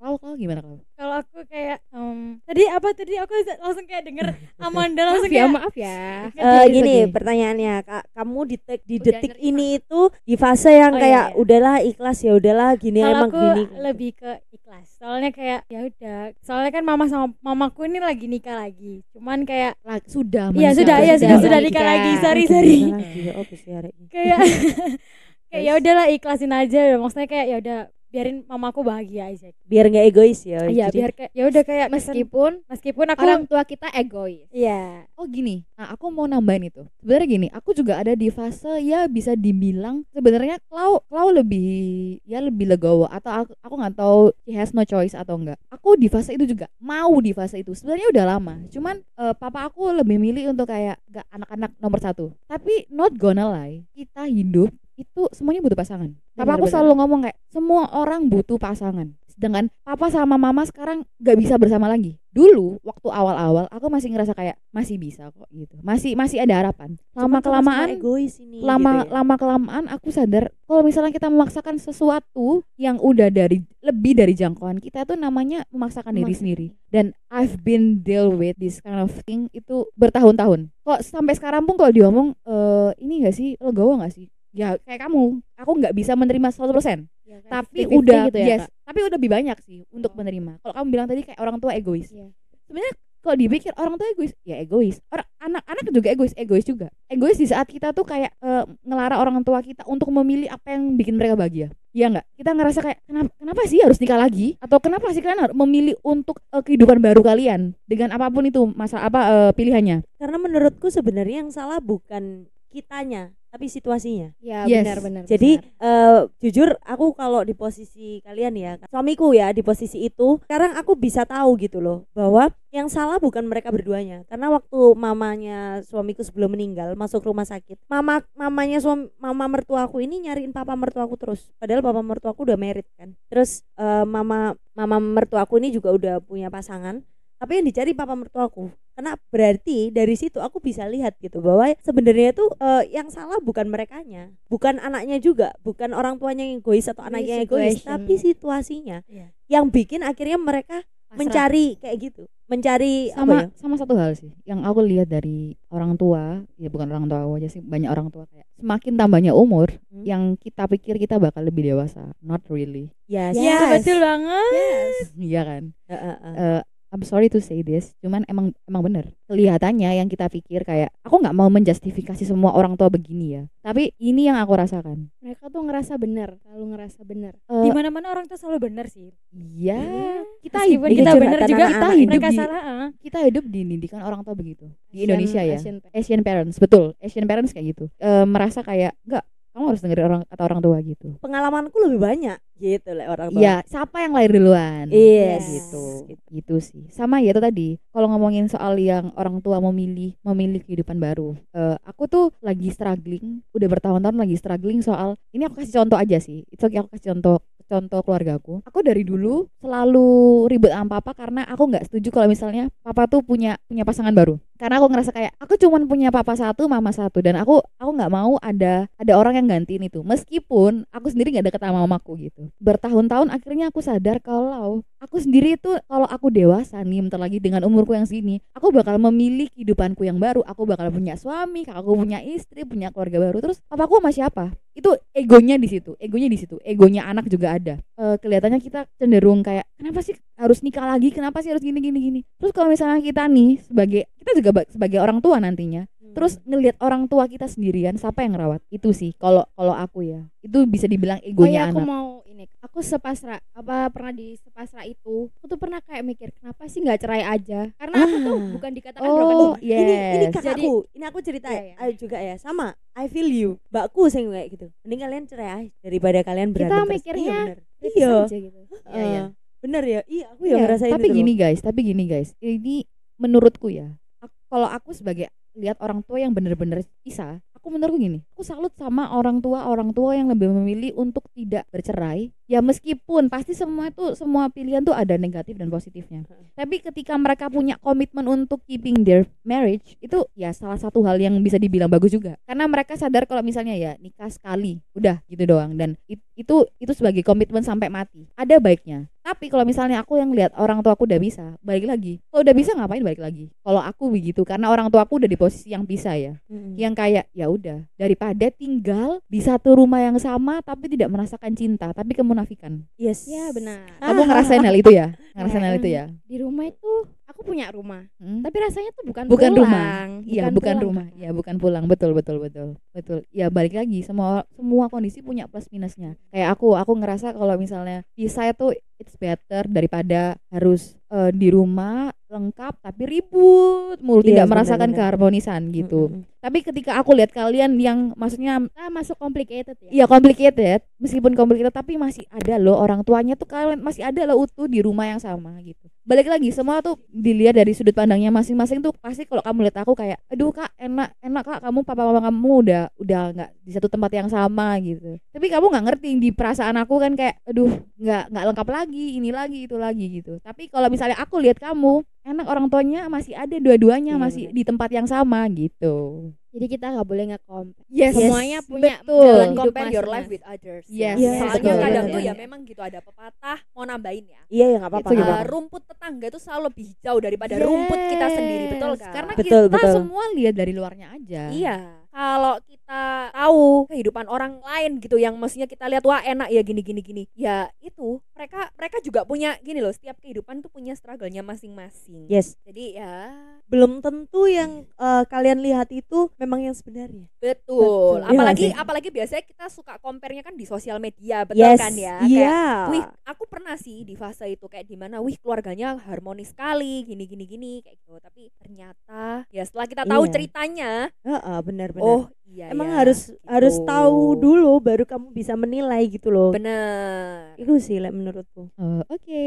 kalau kalau gimana kalau
kalau aku kayak em, tadi apa tadi aku langsung kayak denger Amanda
maaf
langsung
ya
kayak
maaf ya
Eh
Jadi
gini
lagi.
pertanyaannya kak kamu di te- di
Udah
detik
nerima.
ini itu di fase yang
Oh, iya,
kayak
iya.
udahlah ikhlas ya udahlah gini
kalau
emang
aku
gini
lebih ke ikhlas soalnya kayak ya udah soalnya kan mama sama mamaku ini lagi nikah lagi cuman kayak
La- sudah
Iya
manusia
sudah
harus
ya sudah
denial.
sudah
nikah.
nikah lagi sorry
Aduh,
sorry
gimana lagi ya? Oke, sih, hari ini.
kayak kayak ya udahlah ikhlasin aja maksudnya kayak ya udah biarin mamaku bahagia aja
biar nggak egois ya
iya
jadi-
biar kayak ya udah kayak kesan-
meskipun
meskipun aku
orang tua kita egois
iya
Oh gini, nah aku mau nambahin itu. Sebenarnya gini, aku juga ada di fase ya bisa dibilang sebenarnya Klau Klau lebih ya lebih legowo atau aku aku nggak tahu she has no choice atau enggak. Aku di fase itu juga mau di fase itu. Sebenarnya udah lama. Cuman eh, papa aku lebih milih untuk kayak gak anak-anak nomor satu. Tapi not gonna lie, kita hidup itu semuanya butuh pasangan. Papa aku
Benar-benar.
selalu ngomong kayak semua orang butuh pasangan. Sedangkan papa sama mama sekarang gak bisa bersama lagi. Dulu waktu awal-awal aku masih ngerasa kayak masih bisa kok gitu. Masih masih ada harapan.
Cuman
Lama kelamaan
sama-sama egois ini
lama
gitu ya.
lama kelamaan aku sadar kalau misalnya kita memaksakan sesuatu yang udah dari lebih dari jangkauan kita itu namanya memaksakan diri
Memaksakan.
sendiri dan I've been deal with this kind of thing itu bertahun-tahun kok sampai sekarang pun kalau diomong "Eh, ini gak sih legowo gak sih ya kayak kamu aku nggak bisa menerima 100% tapi
50-50
udah
gitu ya,
yes,
Kak? Oh.
tapi udah lebih banyak sih untuk menerima kalau kamu bilang tadi kayak orang tua egois
Iya.
sebenarnya kalau dipikir orang tua egois ya egois orang anak-anak juga egois egois juga egois di saat kita tuh kayak eh, ngelarang orang tua kita untuk memilih apa yang bikin mereka bahagia Iya nggak? Kita ngerasa kayak kenapa, kenapa sih harus nikah lagi? Atau kenapa sih kalian harus memilih untuk eh, kehidupan baru kalian dengan apapun itu masa apa eh, pilihannya?
karena menurutku sebenarnya yang salah bukan kitanya tapi situasinya
ya
Yes.
benar benar
jadi eh, jujur aku kalau di posisi kalian ya suamiku ya di posisi itu sekarang aku bisa tahu gitu loh bahwa yang salah bukan mereka berduanya karena waktu mamanya suamiku sebelum meninggal masuk rumah sakit mama mamanya suami mama mertuaku ini nyariin papa mertuaku terus padahal papa mertuaku udah merit kan terus eh, mama mama mertuaku ini juga udah punya pasangan tapi yang dicari papa mertuaku karena berarti dari situ aku bisa lihat gitu bahwa sebenarnya itu eh, yang salah bukan merekanya bukan anaknya juga bukan orang tuanya yang egois atau
Tapi
anaknya yang egois
situation.
tapi situasinya
Iya.
yang bikin akhirnya mereka mencari kayak gitu mencari apa ya?
sama sama satu hal sih yang aku lihat dari orang tua ya bukan orang tua aku aja sih banyak orang tua kayak semakin tambahnya umur
Hmm.
yang kita pikir kita bakal lebih dewasa not really
Yes.
Iya, betul banget
iya kan
Heeh, heeh.
Eh, I'm sorry to say this cuman emang emang bener kelihatannya yang kita pikir kayak aku nggak mau menjustifikasi semua orang tua begini ya tapi ini yang aku rasakan
mereka tuh ngerasa benar selalu ngerasa benar
Eh,
di mana mana orang tuh selalu benar sih
iya
Hmm.
kita
meskipun
hidup-
kita
Jujur,
benar
kata
juga
anak-anak
kita
ini.
mereka
Hidup di-
salah ah.
kita hidup dididikan orang tua begitu di
Asian-
Indonesia ya
Asian Pac.
Asian parents betul Asian parents kayak gitu Eh, merasa kayak enggak kamu harus dengerin orang kata orang tua gitu
pengalamanku lebih banyak gitu lah orang tua
Iya, siapa yang lahir duluan?
Yes.
gitu. Gitu sih. Sama ya itu tadi. Kalau ngomongin soal yang orang tua memilih memilih kehidupan baru. Eh, aku tuh lagi struggling, udah bertahun-tahun lagi struggling soal ini aku kasih contoh aja sih. Itu aku kasih contoh contoh keluarga aku. Aku dari dulu selalu ribet sama papa karena aku nggak setuju kalau misalnya papa tuh punya punya pasangan baru. Karena aku ngerasa kayak aku cuman punya papa satu, mama satu dan aku aku nggak mau ada ada orang yang gantiin itu. Meskipun aku sendiri nggak deket sama mamaku gitu. Bertahun-tahun akhirnya aku sadar kalau aku sendiri itu kalau aku dewasa nih bentar lagi dengan umurku yang segini, aku bakal memilih kehidupanku yang baru. Aku bakal punya suami, aku punya istri, punya keluarga baru. Terus papaku sama siapa? itu egonya di situ, egonya di situ, egonya anak juga ada. Eh, kelihatannya kita cenderung kayak kenapa sih harus nikah lagi kenapa sih harus gini gini gini terus kalau misalnya kita nih sebagai kita juga ba- sebagai orang tua nantinya
Hmm.
terus ngelihat orang tua kita sendirian siapa yang ngerawat itu sih kalau kalau aku ya itu bisa dibilang
Oh iya,
egonya
aku
anak
mau ini. Aku sepasrah apa pernah di sepasrah itu. Aku tuh pernah kayak mikir kenapa sih nggak cerai aja? Karena aku tuh
Ah.
bukan dikatakan Kan broken
oh
home.
yes
ini ini kakakku
Jadi-
ini aku cerita
Iya, iya.
ayo juga ya sama I feel you mbakku sing kayak gitu mending kalian cerai ah, daripada kalian
Kita
berantem terus.
mikirnya
iya bener
Tipis
iya
aja gitu.
Iya, iya. bener ya iya aku
Iya,
yang ngerasain
tapi
itu
gini guys tapi gini guys ini menurutku ya aku- kalau aku sebagai lihat orang tua yang bener-bener bisa aku menurutku gini aku salut sama orang tua orang tua yang lebih memilih untuk tidak bercerai ya meskipun pasti semua itu semua pilihan tuh ada negatif dan positifnya tapi ketika mereka punya komitmen untuk keeping their marriage itu ya salah satu hal yang bisa dibilang bagus juga karena mereka sadar kalau misalnya ya nikah sekali udah gitu doang dan it- itu itu sebagai komitmen sampai mati ada baiknya tapi kalau misalnya aku yang lihat orang tua aku udah bisa balik lagi kalau udah bisa ngapain balik lagi kalau aku begitu karena orang tua aku udah di posisi yang bisa ya
Mm-mm.
yang kayak ya udah daripada tinggal di satu rumah yang sama tapi tidak merasakan cinta tapi kemunafikan
yes
Iya, benar.
kamu ngerasain hal itu ya ngerasain hal
Kayaknya.
itu ya
Di rumah itu aku punya rumah,
Hmm?
tapi rasanya tuh bukan
Bukan
pulang.
rumah. Iya, bukan
pulang.
rumah. Iya, bukan pulang. Betul, betul, betul. Betul. Ya balik lagi semua semua kondisi punya plus minusnya. Kayak aku, aku ngerasa kalau misalnya pisah itu it's better daripada harus eh, di rumah lengkap tapi ribut mulu
Iya,
tidak merasakan
benar-benar.
keharmonisan gitu.
Mm-mm.
Tapi ketika aku lihat kalian yang maksudnya
Kita masuk complicated ya.
ya complicated, meskipun complicated tapi masih ada loh orang tuanya tuh kalian masih ada loh utuh di rumah yang sama gitu. Balik lagi semua tuh dilihat dari sudut pandangnya masing-masing tuh pasti kalau kamu lihat aku kayak aduh Kak enak enak Kak kamu papa mama kamu udah udah nggak di satu tempat yang sama gitu. Tapi kamu nggak ngerti di perasaan aku kan kayak aduh nggak nggak lengkap lagi ini lagi itu lagi gitu. Tapi kalau misalnya aku lihat kamu enak orang tuanya masih ada dua-duanya
Iya,
masih
benar.
di tempat yang sama gitu.
Jadi kita nggak boleh ngekom.
Yes,
Semuanya punya
betul.
jalan
Don't
hidup
compare your life
masing-masing.
with others ya.
Yes,
Yes,
soalnya
betul,
kadang
betul.
tuh ya memang gitu ada pepatah mau nambahin ya
iya ya nggak apa-apa
Itu
nggak
juga
Uh,
apa-apa.
rumput tetangga itu selalu lebih hijau daripada rumput kita sendiri betul
Yes,
kan
Karena
Betul,
kita
betul.
semua lihat dari luarnya aja.
iya kalau kita tahu kehidupan orang lain gitu yang maksudnya kita lihat wah enak ya gini gini gini ya itu mereka mereka juga punya gini loh setiap kehidupan tuh punya struggle-nya masing-masing
yes
jadi ya
belum tentu yang eh, kalian lihat itu memang yang sebenarnya Betul.
betul,
Iya
apalagi
nggak sih?
apalagi biasanya kita suka compare-nya kan di sosial media betul
yes
kan ya Kayak
iya
Wih, aku pernah sih di fase itu kayak di mana wih keluarganya harmonis sekali, gini gini gini kayak gitu. Tapi ternyata ya setelah kita tahu
Iya.
ceritanya,
Heeh, benar-benar
oh iya
emang
ya,
harus harus
gitu.
tahu dulu baru kamu bisa menilai gitu loh
Bener.
itu sih Lek, menurutku
Eh, Oke,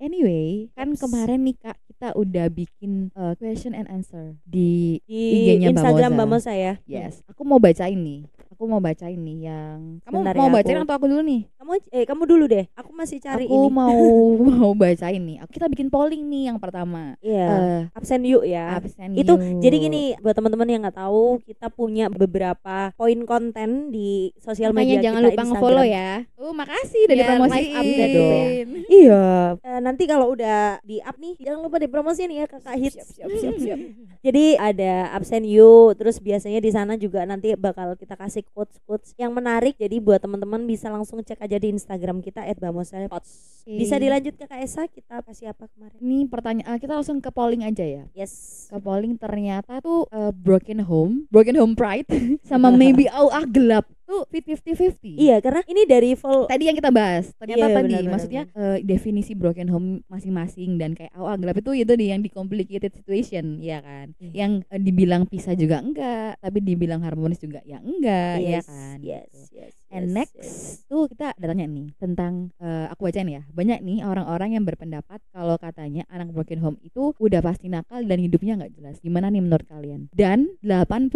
anyway, kan
Ups.
kemarin nih Kak kita udah bikin eh, question and answer di
di
IG-nya Mbak
Instagram
Moza.
Mbak Moza ya
Yes. Aku mau bacain nih. Aku mau bacain nih yang kamu
Bentar
mau
ya,
bacain
aku-
atau aku dulu nih?
kamu eh kamu dulu deh aku masih cari
aku
ini
mau mau bacain nih. Kita bikin polling nih yang pertama.
Iya,
Eh,
absen yuk ya
absen
itu
yuk.
jadi gini buat teman-teman yang nggak tahu kita punya beberapa poin konten di sosial
Makanya
media
jangan
kita,
lupa
Instagram.
nge-follow ya.
Oh, makasih udah
Biar
dipromosiin.
live update gitu ya.
iya Eh, nanti kalau udah di up nih jangan lupa dipromosiin ya kakak hits
Siap, siap, siap, siap.
Jadi ada absen you, terus biasanya di sana juga nanti bakal kita kasih quotes-quotes yang menarik. Jadi buat teman-teman bisa langsung cek aja di Instagram kita @bamoselepods. Bisa dilanjut ke KSA kita kasih apa kemarin?
Ini pertanyaan eh, kita langsung ke polling aja ya.
Yes.
ke polling ternyata tuh eh, broken home, broken home pride sama maybe oh ah gelap tuh 50-50.
Iya, karena ini dari full
Tadi yang kita bahas,
Iya,
ternyata tadi
benar, benar,
maksudnya eh, definisi broken home masing-masing dan kayak oh ah gelap itu itu di- yang di complicated situation ya kan.
Iya.
Yang eh, dibilang pisah juga enggak, tapi dibilang harmonis juga ya enggak ya
yes,
kan.
Yes,
gitu.
yes,
And
yes,
next
yes.
tuh kita ada tanya nih tentang eh, aku bacain ya banyak nih orang-orang yang berpendapat kalau katanya anak broken home itu udah pasti nakal dan hidupnya nggak jelas. Gimana nih menurut kalian? Dan 88%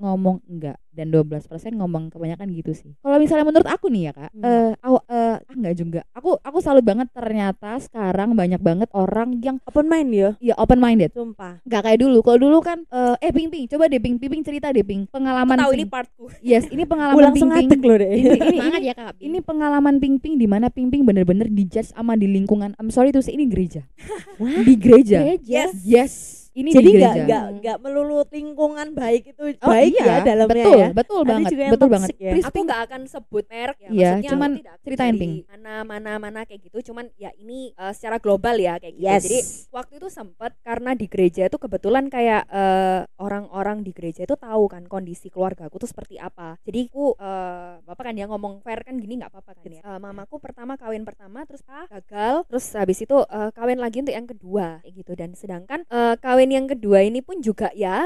ngomong enggak dan 12% ngomong kebanyakan gitu sih. Kalau misalnya menurut aku nih ya kak,
Hmm.
eh aw- eh, ah, nggak juga. Aku aku salut banget ternyata sekarang banyak banget orang yang
Open mind ya,
ya open minded.
sumpah.
Gak kayak dulu. Kalau dulu kan eh, eh ping ping coba deh ping ping, Ping, cerita deh ping pengalaman.
Tahu ini
Ping.
partku.
Yes ini
Aku
pengalaman
langsung
ping ping.
ngadeg loh deh.
Ini- ini-
Semangat ya Kak.
ini pengalaman Pingping di mana Pingping bener-bener dijudge sama di lingkungan. I'm sorry tuh sih ini gereja. di gereja.
Gereja.
Yes. ini
Jadi
di
nggak
gereja.
nggak nggak melulu lingkungan baik itu
Oh,
baik
iya,
ya dalamnya
betul,
ya.
betul
Ada
banget,
juga yang
betul
toxic
banget.
ya.
Please,
aku nggak akan sebut merek ya,
Iya,
maksudnya
cuman
aku tidak akan
ceritain,
dari
Ping.
mana mana mana kayak gitu cuman ya ini eh, secara global ya kayak gitu
Iya,
Yes.
jadi waktu itu sempat karena di gereja itu kebetulan kayak eh, orang-orang di gereja itu tahu kan kondisi keluarga aku tuh seperti apa jadi aku eh, bapak kan dia ngomong fair kan gini nggak apa-apa kan ya Eh, mamaku pertama kawin pertama terus ah, gagal terus habis itu eh, kawin lagi untuk yang kedua kayak gitu dan sedangkan eh, kawin yang kedua ini pun juga ya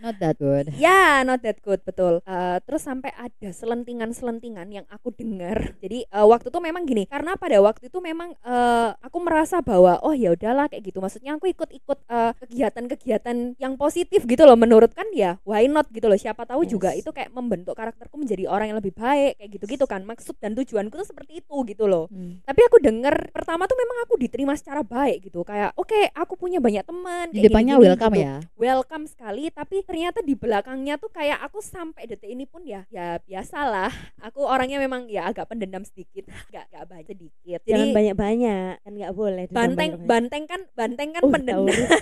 Not that good.
Ya, not that good, betul. Eh, terus sampai ada selentingan-selentingan yang aku dengar. Jadi eh, waktu itu memang gini, karena pada waktu itu memang eh, aku merasa bahwa oh ya udahlah kayak gitu. Maksudnya aku ikut-ikut eh, kegiatan-kegiatan yang positif gitu loh menurut kan ya, why not gitu loh. Siapa tahu juga
Yes.
itu kayak membentuk karakterku menjadi orang yang lebih baik kayak gitu-gitu kan. Maksud dan tujuanku tuh seperti itu gitu loh
Hmm.
tapi aku denger pertama tuh memang aku diterima secara baik gitu kayak oke aku punya banyak teman
Di
kayak
depannya
gini-gini
welcome
gitu.
ya.
welcome sekali tapi ternyata di belakangnya tuh kayak aku sampai detik ini pun ya ya biasalah aku orangnya memang ya agak pendendam sedikit agak agak banyak sedikit
Jangan
jadi
banyak-banyak kan nggak boleh. dendam
banteng
banyak-banyak.
banteng kan banteng kan
Oh,
pendendam
tahu.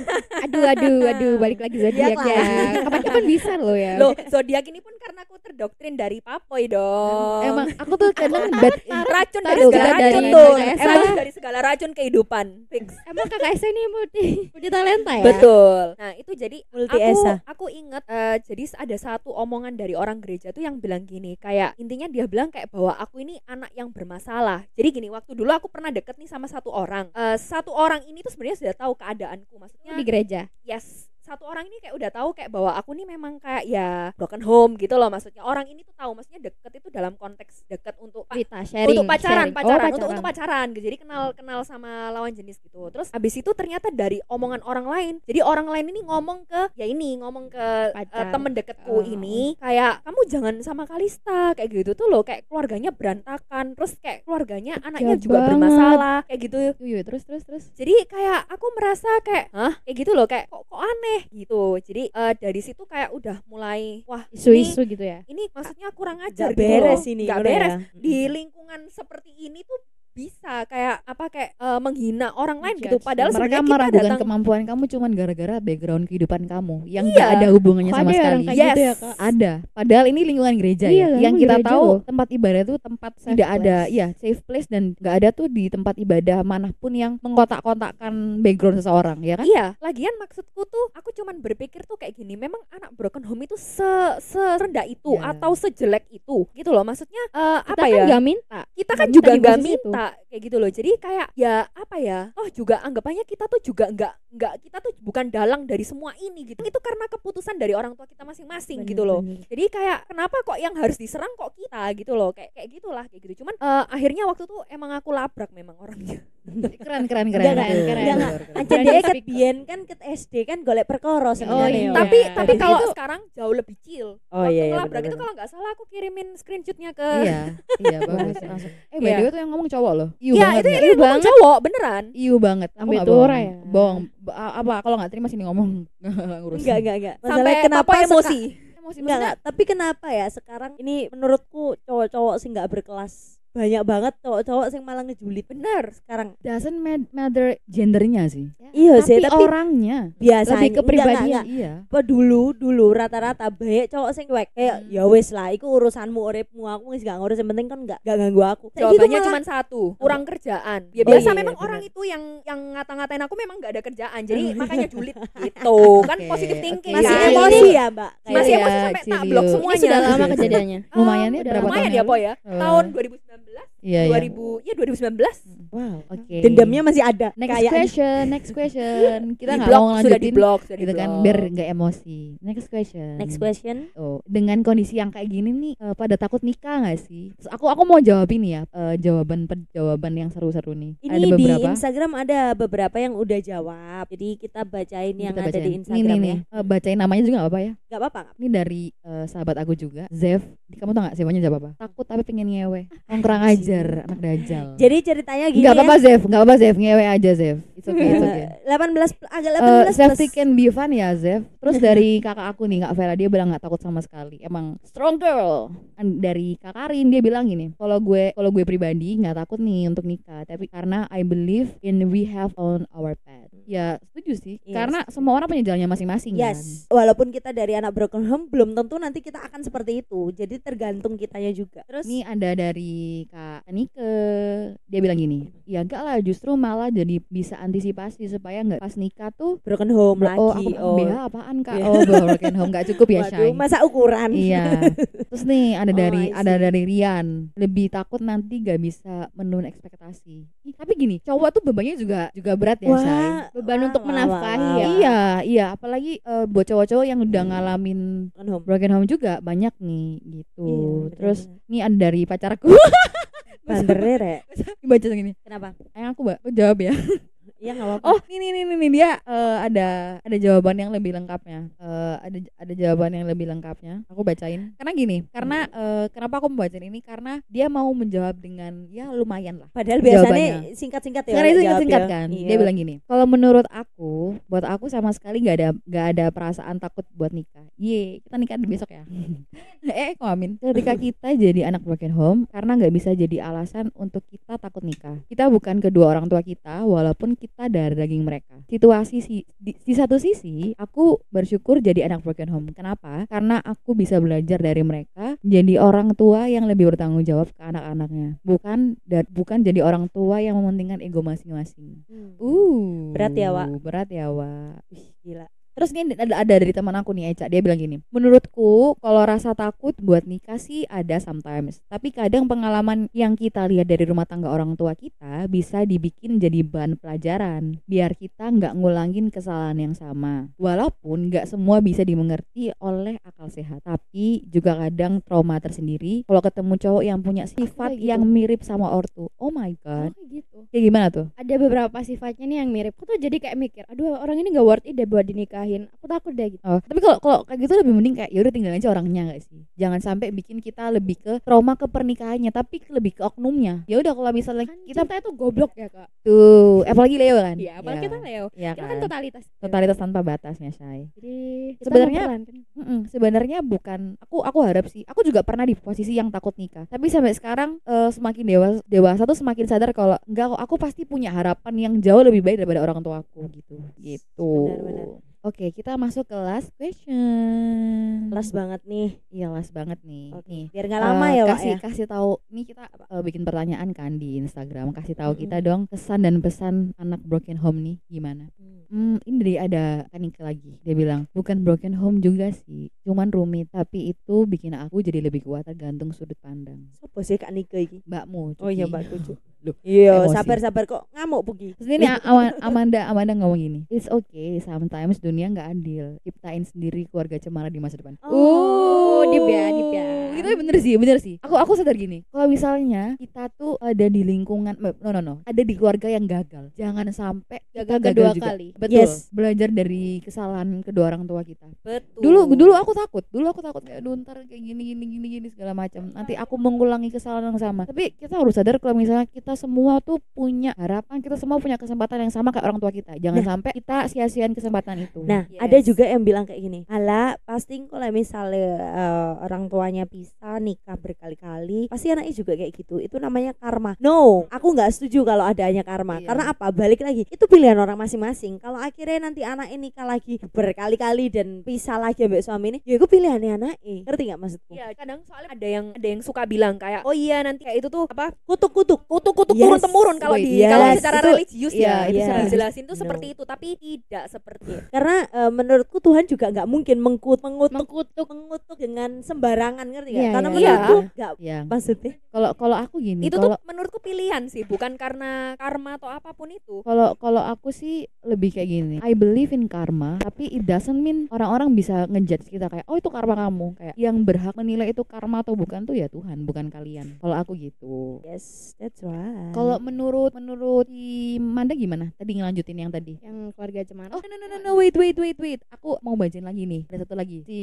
aduh aduh aduh balik lagi zodiak
Zodiak
ya kapan-kapan bisa loh ya
loh zodiak ini pun karena aku terdoktrin dari papoy dong
Emang aku tuh kadang bad
racun dari
Taruh,
segala
kita
racun
dari-
tuh
dari-
racun dari segala racun kehidupan fix
emang kakak saya ini multi multi talenta ya
betul nah itu jadi
Multi
aku
esa.
aku inget eh, jadi ada satu omongan dari orang gereja tuh yang bilang gini kayak intinya dia bilang kayak bahwa aku ini anak yang bermasalah jadi gini waktu dulu aku pernah deket nih sama satu orang Eh, satu orang ini tuh sebenarnya sudah tahu keadaanku maksudnya
di gereja
yes satu orang ini kayak udah tahu kayak bahwa aku nih memang kayak ya broken home gitu loh maksudnya orang ini tuh tahu maksudnya deket itu dalam konteks deket untuk pa-
cerita sharing
untuk pacaran,
sharing. Oh,
pacaran, untuk untuk pacaran. gitu. Jadi kenal kenal sama lawan jenis gitu. Terus abis itu ternyata dari omongan orang lain. Jadi orang lain ini ngomong ke ya ini ngomong ke eh,
Pacar.
temen deketku
Oh.
ini kayak kamu jangan sama Kalista kayak gitu tuh loh kayak keluarganya berantakan. Terus kayak keluarganya anaknya juga
banget.
bermasalah kayak gitu.
Yuk, terus terus terus.
Jadi kayak aku merasa kayak hah kayak gitu loh kayak kok kok aneh gitu. Jadi eh, dari situ kayak udah mulai wah
isu-isu gitu ya
ini maksudnya kurang
Nggak
ajar gitu
beres
loh.
ini.
Nggak
ngono ya.
beres di lingkungan seperti ini tuh bisa kayak apa kayak eh, menghina orang lain gitu
Judge.
padahal
mereka
sebenarnya kita
meragukan
datang
kemampuan kamu cuman gara-gara background kehidupan kamu yang
Iya.
nggak ada hubungannya
Kok
sama
ada orang
sekali.
kayak
Yes.
gitu ya kak
Ada. Padahal ini lingkungan gereja
Iya,
ya. Yang
emang
kita
gereja
tahu
loh.
tempat ibadah itu tempat
Safe
tidak ada,
place.
ya safe place dan nggak ada tuh di tempat ibadah manapun yang mengkotak-kotakkan background seseorang ya kan?
Iya, lagian maksudku tuh aku cuman berpikir tuh kayak gini, memang anak broken home itu se serendah itu
Iya.
atau sejelek itu gitu loh. Maksudnya eh,
kita
apa
kan
ya?
nggak minta
kita kan
nggak
juga
minta di
nggak
posisi itu.
minta kayak gitu loh. Jadi kayak ya apa ya? Oh juga anggapannya kita tuh juga nggak nggak kita tuh bukan dalang dari semua ini gitu. Itu karena keputusan dari orang tua kita masing-masing gitu loh. jadi kayak kenapa kok yang harus diserang kok kita gitu loh kayak kayak gitulah kayak gitu cuman eh, akhirnya waktu tuh emang aku labrak memang orangnya
Keren keren
Nggak,
keren.
nggak,
Betul,
nggak,
betul,
nggak.
betul.
Aja dia ket biyen kan ket SD kan golek perkara
Oh,
sebenarnya.
ya.
iya.
Tapi
tapi tapi
Jadi
kalau
itu-
sekarang jauh lebih chill
Oh,
waktu
iya, iya,
labrak itu
benar-benar.
kalau nggak salah aku kirimin screenshotnya ke
Iya, iya bagus langsung. Eh, by
Iya.
the way tuh yang ngomong cowok loh. Iu
Iya,
banget.
itu
nggak?
itu bukan cowok beneran
Iu banget. Aku
Sampai
nggak
tua
bohong.
ya.
Bohong. Ba- Apa kalau nggak terima sini ngomong ngurus.
enggak enggak enggak.
sampai
Masalah kenapa
papa
seka-
emosi
Emosi
Enggak, enggak. Iya, tapi kenapa ya sekarang ini menurutku cowok-cowok sih nggak berkelas. Banyak banget cowok-cowok sing malah ngejulit. Bener sekarang.
doesn't ma- matter gendernya sih
Iya sih,
tapi,
tapi
orangnya
biasanya
lebih ke
enggak, enggak,
pribadinya.
enggak.
iya
Apa dulu dulu rata-rata banyak cowok sing cuek kayak
Hmm.
ya wes lah iku urusanmu uripmu aku wis gak ngurus yang penting kan gak, gak ganggu aku. Kayak gitu
jawabannya
malah-
cuma satu kurang kerjaan ya
Oh,
biasa
iya,
memang
benar.
orang itu yang yang ngata-ngatain aku memang nggak ada kerjaan jadi makanya julid gitu kan
Oke,
positive
oke.
thinking
masih
kan.
emosi ya, Mbak. Kayak
masih
Iya,
emosi sampai tak
Cilio.
blok
Ini
ini
semuanya
sudah lama
Iya.
kejadiannya
lumayan ya
udah
berapa
lumayan
tahun
lumayan ya
yang
po
lalu?
ya
Eh,
tahun 2019
iya, iya.
2000 ya 2019
wow oke
dendamnya masih ada.
next
Kayaknya.
question next question kita
Di
nggak
blok,
mau
sudah
lanjutin
di blok sudah
gitu
di
kan
blok.
biar nggak emosi next question
Next question.
Oh, dengan kondisi yang kayak gini nih eh, pada takut nikah nggak sih? Terus aku aku mau jawab ini ya, eh, jawaban pe- jawaban yang seru-seru nih.
Ini
ada
di
beberapa
Instagram ada beberapa yang udah jawab. Jadi kita bacain yang
Kita
ada
bacain.
di Instagram
Ini
ya.
nih, eh, bacain namanya juga nggak apa-apa ya?
Gak apa-apa.
ini dari eh, sahabat aku juga Zev kamu tau gak Zevanya jawab apa takut tapi pengen ngewe orang kurang ajar anak dajal
Jadi ceritanya gini
nggak
ya.
apa-apa Zev nggak apa-apa Zev ngewe aja Zev It's okay, it's okay.
18 Eh, pl- agak 18
Eh,
plus.
safety can be fun ya Zef Terus dari kakak aku nih Kak Vera dia bilang nggak takut sama sekali Emang strong girl An- Dari Kak Karin dia bilang gini Kalau gue kalau gue pribadi nggak takut nih untuk nikah Tapi karena I believe in we have on our path Ya setuju sih
Yes.
Karena semua orang punya jalannya masing-masing
Iya,
kan.
Yes, walaupun kita dari anak broken home belum tentu nanti kita akan seperti itu. Jadi tergantung kitanya juga. Terus
kan Ini ada dari Kak Nike Dia bilang gini Ya enggak lah justru malah jadi bisa antisipasi Supaya nggak pas nikah tuh
broken home lagi.
Oh aku BH apaan Kak?
Iya.
Oh broken home nggak cukup ya
Waduh,
Shay
masa ukuran.
Iya. Terus nih ada
Oh,
dari
I see.
ada dari Rian. Lebih takut nanti gak bisa menurun ekspektasi. Ih, Tapi gini, cowok tuh bebannya juga juga berat ya,
Wah,
Shay.
Beban
wah,
untuk
wah,
menafkahi ya.
wah, wah.
Iya, iya, apalagi eh, buat cowok-cowok yang udah ngalamin
Broken home.
broken home juga banyak nih gitu.
Iya,
Terus
benar-benar.
nih ada dari pacarku
bandernya Rek.
baca gini.
Kenapa?
Ayang aku ba- aku jawab ya.
Iya enggak apa-apa.
Oh, ini nih nih nih dia eh, ada ada jawaban yang lebih lengkapnya. Eh, ada ada jawaban yang lebih lengkapnya. Aku bacain. Karena gini, karena eh, kenapa aku membacain ini karena dia mau menjawab dengan ya lumayan lah.
Padahal biasanya
jawabannya.
singkat-singkat ya.
Karena itu
jawab
singkat
ya.
kan.
Iya.
Dia bilang gini, kalau menurut aku, buat aku sama sekali nggak ada nggak ada perasaan takut buat nikah. Ye, kita nikah besok ya. eh, kok amin. Ketika kita jadi anak broken home, karena nggak bisa jadi alasan untuk kita takut nikah. Kita bukan kedua orang tua kita, walaupun kita dari daging mereka. Situasi si di, di satu sisi, aku bersyukur jadi anak broken home. Kenapa? Karena aku bisa belajar dari mereka, jadi orang tua yang lebih bertanggung jawab ke anak-anaknya. Bukan dan bukan jadi orang tua yang mementingkan ego masing-masing.
Hmm.
Uh,
Berat ya, Wak.
Berat ya, Wak.
Ih, gila.
Terus ini ada, ada dari teman aku nih Eca, dia bilang gini, menurutku kalau rasa takut buat nikah sih ada sometimes, tapi kadang pengalaman yang kita lihat dari rumah tangga orang tua kita bisa dibikin jadi bahan pelajaran, biar kita nggak ngulangin kesalahan yang sama. Walaupun nggak semua bisa dimengerti oleh akal sehat, tapi juga kadang trauma tersendiri kalau ketemu cowok yang punya sifat
kayak gitu.
yang mirip sama ortu. Oh my
Oh,
god,
kayak gitu.
kayak gimana tuh?
Ada beberapa sifatnya nih yang mirip. Aku tuh jadi kayak mikir, aduh orang ini nggak worth it deh buat dinikahin. Aku takut deh gitu.
Oh, tapi kalau kalau kayak gitu lebih mending kayak yaudah tinggal aja orangnya gak sih? Jangan sampai bikin kita lebih ke trauma ke pernikahannya, tapi ke- lebih ke oknumnya. Ya udah kalau misalnya
Kan
kita
cinta itu goblok ya kak.
tuh, apalagi Leo kan?
Iya, apalagi kita Leo.
Iya
Kita
kan?
kan totalitas.
Totalitas tanpa batasnya, Shay.
Jadi kita kan.
Sebenarnya-
memperlahankan.
Mm-mm, sebenarnya bukan aku aku harap sih. Aku juga pernah di posisi yang takut nikah. Tapi sampai sekarang eh, semakin dewasa dewasa tuh semakin sadar kalau enggak kok, aku pasti punya harapan yang jauh lebih baik daripada orang tua aku gitu. Gitu.
Benar-benar.
Oke, kita masuk ke last question.
Kelas banget nih.
Iya last banget nih.
Oke.
Nih,
Biar nggak lama
eh,
ya, Wak
kasih
ya.
kasih tahu. Nih kita eh, bikin pertanyaan kan di Instagram. Kasih tahu kita dong kesan dan pesan anak broken home nih gimana?
Mm.
Hmm, ini dari ada Kanike lagi. Dia bilang bukan broken home juga sih, cuman rumit. Tapi itu bikin aku jadi lebih kuat tergantung sudut pandang.
Sopo sih Kak Nike iki?
Mbakmu.
Oh
Cuci.
iya, Mbak Tuju.
Loh,
Iya,
emosi.
sabar-sabar kok ngamuk pergi.
Terus ini A- Ama- Amanda Amanda ngomong gini, it's okay sometimes dunia nggak adil. Ciptain sendiri keluarga cemara di masa depan.
Oh,
di
deep ya, deep ya.
Itu bener sih, bener sih. Aku aku sadar gini, kalau misalnya kita tuh ada di lingkungan no no no, ada di keluarga yang gagal. Jangan sampai kita
Gagal kedua
juga.
kali.
Betul.
Yes.
Belajar dari kesalahan kedua orang tua kita.
Betul.
Dulu dulu aku takut, dulu aku takut kayak "Aduh, ntar kayak gini gini gini gini segala macam. Nanti aku mengulangi kesalahan yang sama. Tapi kita harus sadar kalau misalnya kita semua tuh punya harapan, kita semua punya kesempatan yang sama kayak orang tua kita. Jangan sampai kita sia-siain kesempatan itu.
Nah,
Yes.
ada juga yang bilang kayak gini, ala pasti kalau misalnya eh, orang tuanya pisah nikah berkali-kali, pasti anaknya juga kayak gitu. Itu namanya karma. No, aku nggak setuju kalau adanya karma.
Iya.
Karena apa? Balik lagi, itu pilihan orang masing-masing. Kalau akhirnya nanti anak ini nikah lagi berkali-kali dan pisah lagi ambek suami ini, ya itu pilihannya anak. Ngerti nggak maksudku?
Iya, kadang soalnya ada yang ada yang suka bilang kayak oh iya nanti kayak itu tuh apa
Kutuk-kutuk.
kutuk-kutuk
Yes.
turun temurun kalau di
Yes.
kalau secara
Itu-
religius
iya,
ya
itu
itu
secara
dijelasin tuh
religius.
seperti
No.
itu tapi tidak seperti
Karena eh, menurutku Tuhan juga nggak mungkin mengkut mengutuk
Mengkutuk.
mengutuk dengan sembarangan ngerti nggak?
Iya,
Karena
iya,
menurutku
iya.
nggak
Ya,
maksudnya.
kalau kalau aku gini,
itu
kalau
tuh menurutku pilihan sih bukan karena karma atau apapun itu
Kalau kalau aku sih lebih kayak gini. I believe in karma, tapi it doesn't mean orang-orang bisa ngejudge kita kayak oh itu karma kamu. Kayak
Iya.
yang berhak menilai itu karma atau bukan tuh ya Tuhan, bukan kalian. Kalau aku gitu.
Yes, that's right. Hai.
Kalau menurut menurut si Manda gimana? Tadi ngelanjutin yang tadi.
yang keluarga cemara
Oh, no, no, no, no, no, wait, wait, wait, wait. Aku mau bacain lagi nih. Ada satu lagi. Si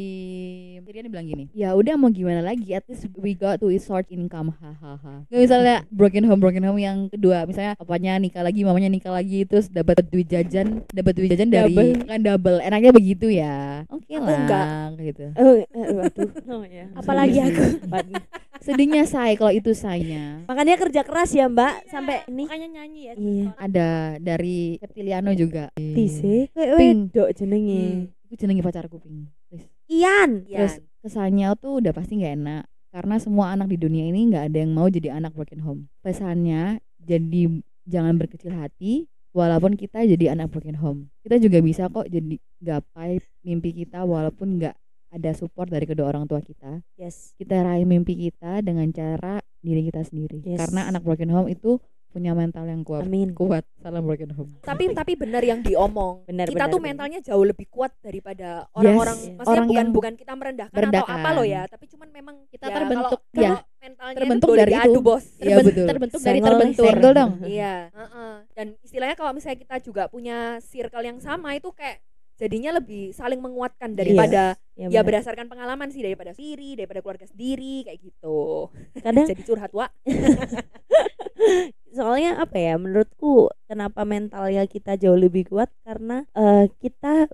Sirian bilang gini. Ya udah mau gimana lagi? At least we got to sort income. Hahaha. Nggak, misalnya broken home, broken home yang kedua. Misalnya papanya nikah lagi, mamanya nikah lagi, terus dapat duit jajan, dapat duit jajan dari
Double.
kan double. Enaknya begitu ya. Oke
Aku
lah.
enggak.
Gitu.
Oh, eh, waduh. Oh, ya.
Apalagi aku.
Waduh.
Sedihnya say kalau itu saynya.
Makanya kerja keras ya,
Iya.
Mbak, sampai ini.
Makanya nyanyi ya.
Iya.
Ada dari Septiliano juga.
Tise, kowe
Ping.
wedok
Hmm.
jenenge.
Itu jenenge pacarku ping. Please.
Ian.
Iya.
Terus kesannya tuh udah pasti nggak enak karena semua anak di dunia ini nggak ada yang mau jadi anak broken home. Pesannya jadi jangan berkecil hati walaupun kita jadi anak broken home. Kita juga bisa kok jadi gapai mimpi kita walaupun nggak ada support dari kedua orang tua kita.
Yes.
Kita raih mimpi kita dengan cara diri kita sendiri.
Yes.
Karena anak broken home itu punya mental yang kuat.
Amin.
Kuat. Salam broken home.
tapi tapi benar yang diomong
Benar,
kita
benar,
tuh
benar.
mentalnya jauh lebih kuat daripada orang-orang
Yes.
maksudnya
Orang
bukan
yang
bukan kita merendahkan, atau
merendahkan.
apa loh ya tapi cuman memang
Kita terbentuk,
kalau,
ya.
kalau mentalnya
Terbentuk
itu boleh
dari itu.
diadu, bos
Iya,
Terben-
betul.
terbentuk dari
Senggol,
terbentur
Senggol dong.
iya heeh. dan istilahnya kalau misalnya kita juga punya circle yang sama itu kayak jadinya lebih saling menguatkan daripada ya
Iya. benar.
berdasarkan pengalaman sih daripada sendiri daripada keluarga sendiri kayak gitu
Kadang
jadi curhat wa
soalnya apa ya menurutku kenapa mentalnya kita jauh lebih kuat karena eh, kita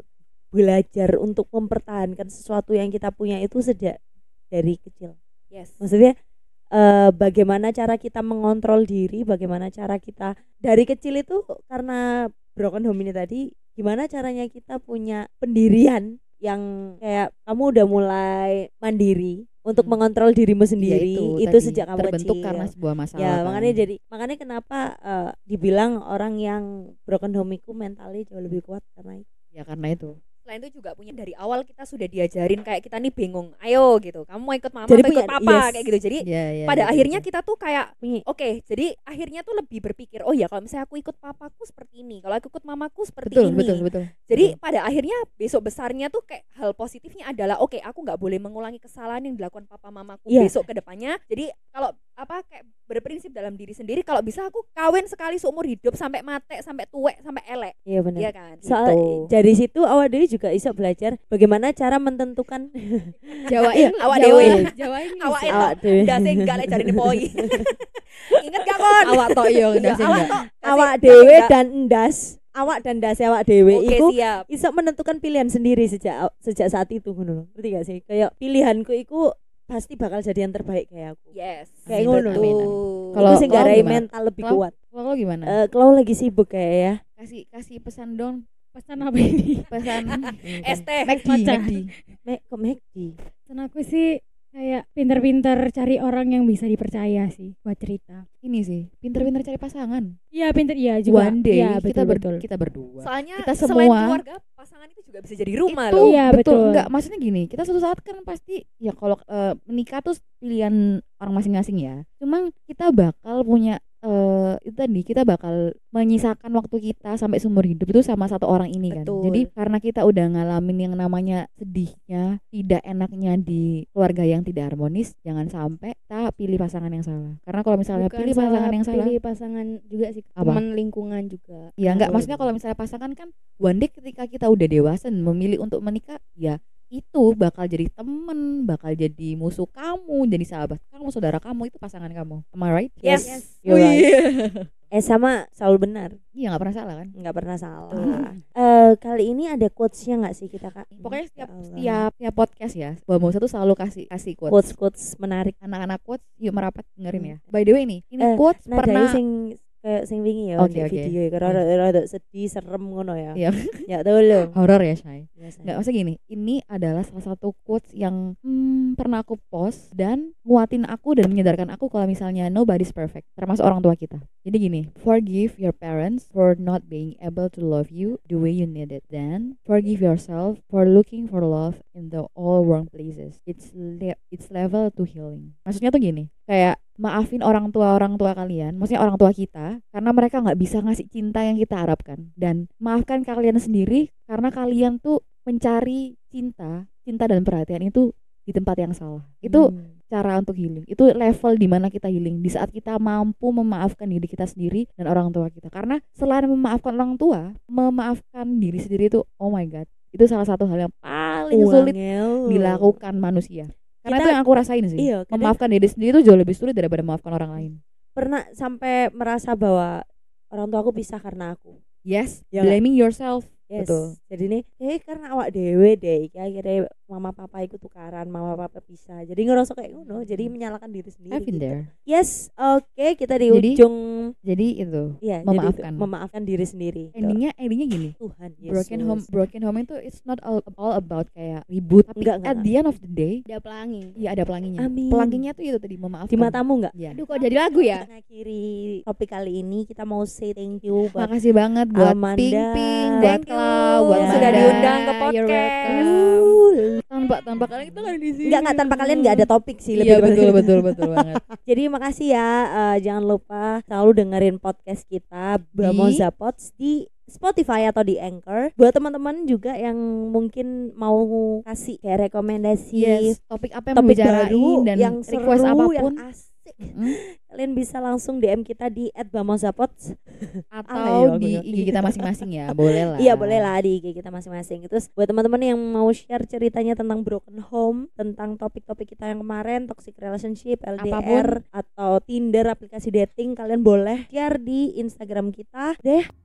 belajar untuk mempertahankan sesuatu yang kita punya itu sejak dari kecil
yes
maksudnya eh, bagaimana cara kita mengontrol diri bagaimana cara kita dari kecil itu karena broken home ini tadi gimana caranya kita punya pendirian yang kayak kamu udah mulai mandiri untuk
Hmm.
mengontrol dirimu sendiri
Yaitu
itu,
tadi,
sejak kamu
terbentuk
kecil
karena sebuah masalah.
ya
kan.
makanya jadi makanya kenapa eh, dibilang orang yang broken home itu mentalnya jauh lebih kuat karena itu.
ya karena itu.
selain itu juga punya dari awal kita sudah diajarin kayak kita nih bingung ayo gitu kamu mau ikut mama
Jadi
atau ikut
punya-
papa
yes.
kayak gitu jadi
Ya, ya,
pada
gitu,
akhirnya
gitu.
kita tuh kayak
punya
oke jadi akhirnya tuh lebih berpikir oh ya kalau misalnya aku ikut papaku seperti ini kalau aku ikut mamaku seperti
betul,
ini
betul, betul.
jadi pada akhirnya besok besarnya tuh kayak hal positifnya adalah oke aku nggak boleh mengulangi kesalahan yang dilakukan papa mamaku
Iya.
besok ke depannya jadi kalau apa kayak berprinsip dalam diri sendiri kalau bisa aku kawin sekali seumur hidup sampai mate sampai tuwek sampai elek
iya benar
iya kan
soal dari situ awal dewi juga bisa belajar bagaimana cara menentukan
jawain
Iya, Awak
Jawa-
dewe.
jawain bisa.
Awak Iya,
awak dewi
udah sih enggak lek jarine poi inget gak kon
awak tok yo
Ya,
ndas
awak
enggak.
tok.
awak
Kasih-
dewi
kasih
dan endas awak dan endas awak dewi
enggak.
iku
oke siap
bisa menentukan pilihan sendiri sejak sejak saat itu ngono lho. ngerti gak sih kayak pilihanku itu pasti bakal jadi yang terbaik
Iya.
kayak aku
yes
kayak
Amin,
ngono
amin, amin.
kalau
Kalau-
sing
kalau
garai
gimana?
mental lebih
Kalau-
kuat
Kalau lo gimana?
Eh, kalau lagi sibuk kayak ya
kasih kasih pesan dong,
Pesan apa ini?
pesan
ST
McD,
Pacar.
McD.
Mek, kok McD?
Pesan aku sih kayak pinter-pinter cari orang yang bisa dipercaya sih buat cerita.
Ini sih, pinter-pinter cari pasangan.
Iya pinter, iya juga.
One day
Iya,
kita
betul,
ber-
betul.
kita berdua.
soalnya
Kita
selain
semua-
keluarga pasangan itu juga bisa jadi rumah
itu
loh
Iya,
betul.
betul.
enggak maksudnya gini kita suatu saat kan pasti ya kalau eh, menikah tuh pilihan orang masing-masing ya cuman kita bakal punya eh itu tadi kita bakal menyisakan waktu kita sampai seumur hidup itu sama satu orang ini kan
Betul.
jadi karena kita udah ngalamin yang namanya sedihnya tidak enaknya di keluarga yang tidak harmonis jangan sampai kita pilih pasangan yang salah karena kalau misalnya
Bukan
pilih pasangan
salah
yang salah
pilih pasangan juga sih
Apa?
teman lingkungan juga
Ya enggak,
Gitu.
Betul.
maksudnya kalau misalnya pasangan kan one day ketika kita udah dewasa dan memilih untuk menikah, ya itu bakal jadi temen, bakal jadi musuh kamu, jadi sahabat kamu, saudara kamu, itu pasangan kamu. Am I right?
yes,
You're
Wih.
right. Eh sama selalu benar,
Iya nggak pernah salah kan?
nggak pernah salah. Eh kali ini ada quotesnya nggak Iya sih kita kak?
Pokoknya setiap
Ya Allah.
setiap setiap podcast ya, Mbak Musa tuh selalu kasih kasih quotes.
quotes quotes menarik.
Anak-anak quotes yuk merapat dengerin
Hmm.
ya. By the way nih, ini
Eh,
quotes
Nah
pernah
jadi sing kayak sing wingi ya
Oke,
di
oke.
video ya, karena rada- rada sedih serem ngono ya.
Iya.
Ya tolong.
horor ya, Shay.
Biasa.
Nggak, maksudnya gini, ini adalah salah satu quotes yang hmm, pernah aku post dan nguatin aku dan menyadarkan aku kalau misalnya nobody's perfect, termasuk orang tua kita. Jadi gini, forgive your parents for not being able to love you the way you need it. Then forgive yourself for looking for love in the all wrong places. It's le- it's level to healing. Maksudnya tuh gini, kayak maafin orang tua orang tua kalian, maksudnya orang tua kita, karena mereka nggak bisa ngasih cinta yang kita harapkan. Dan maafkan kalian sendiri karena kalian tuh mencari cinta, cinta dan perhatian itu di tempat yang salah. Itu
Hmm.
cara untuk healing itu level di mana kita healing di saat kita mampu memaafkan diri kita sendiri dan orang tua kita karena selain memaafkan orang tua memaafkan diri sendiri itu oh my god itu salah satu hal yang paling sulit dilakukan manusia karena
Kita-
itu yang aku rasain sih
Iya, kadang-
memaafkan diri sendiri itu jauh lebih sulit daripada memaafkan orang lain
Pernah sampai merasa bahwa orang tua aku pisah karena aku.
yes
Iya.
blaming yourself
Yes.
Betul.
Jadi nih, eh karena awak dewe deh, iki akhirnya mama papa ikut tukaran, mama papa pisah. Jadi ngerasa kayak ngono, jadi menyalahkan diri sendiri.
I've been
gitu.
there
Yes, oke kita di
Jadi-
ujung
jadi itu
ya jadi itu,
memaafkan.
memaafkan diri sendiri. Gitu.
endingnya endingnya gini
Tuhan Yesus.
broken home broken home itu it's not all, all about kayak ribut tapi
Enggak, enggak,
at the end of the day
Ada pelangi.
ya ada pelanginya
Amin.
pelanginya tuh itu tadi memaafkan
Di matamu enggak?
ya
Aduh kok jadi lagu ya?
Mengakhiri topik kali ini kita mau say thank you buat
makasih banget buat
Amanda.
Ping Ping buat
Thank you
Clau buat
yang sudah
Amanda.
diundang ke
You're
podcast.
welcome.
Uh,
tanpa tanpa kalian kita nggak ada di sini
enggak enggak tanpa kalian enggak ada topik sih
iya
lebih tepatnya.
betul betul betul banget
Jadi makasih ya, eh, jangan lupa selalu dengerin podcast kita Bamoza Pods di Spotify atau di Anchor. Buat teman-teman juga yang mungkin mau kasih kayak rekomendasi
yes topik apa yang
topik
bicarain
baru
dan
yang
request
seru,
apapun
yang asik.
Mm,
Kalian bisa langsung DM kita di @bamozapods. Alay ya
atau
aku
di
bilang.
IG kita masing-masing ya boleh lah
Iya boleh lah di IG kita masing-masing. Terus buat teman-teman yang mau share ceritanya tentang broken home, tentang topik-topik kita yang kemarin, toxic relationship, LDR atau Tinder aplikasi dating, kalian boleh share di Instagram kita deh.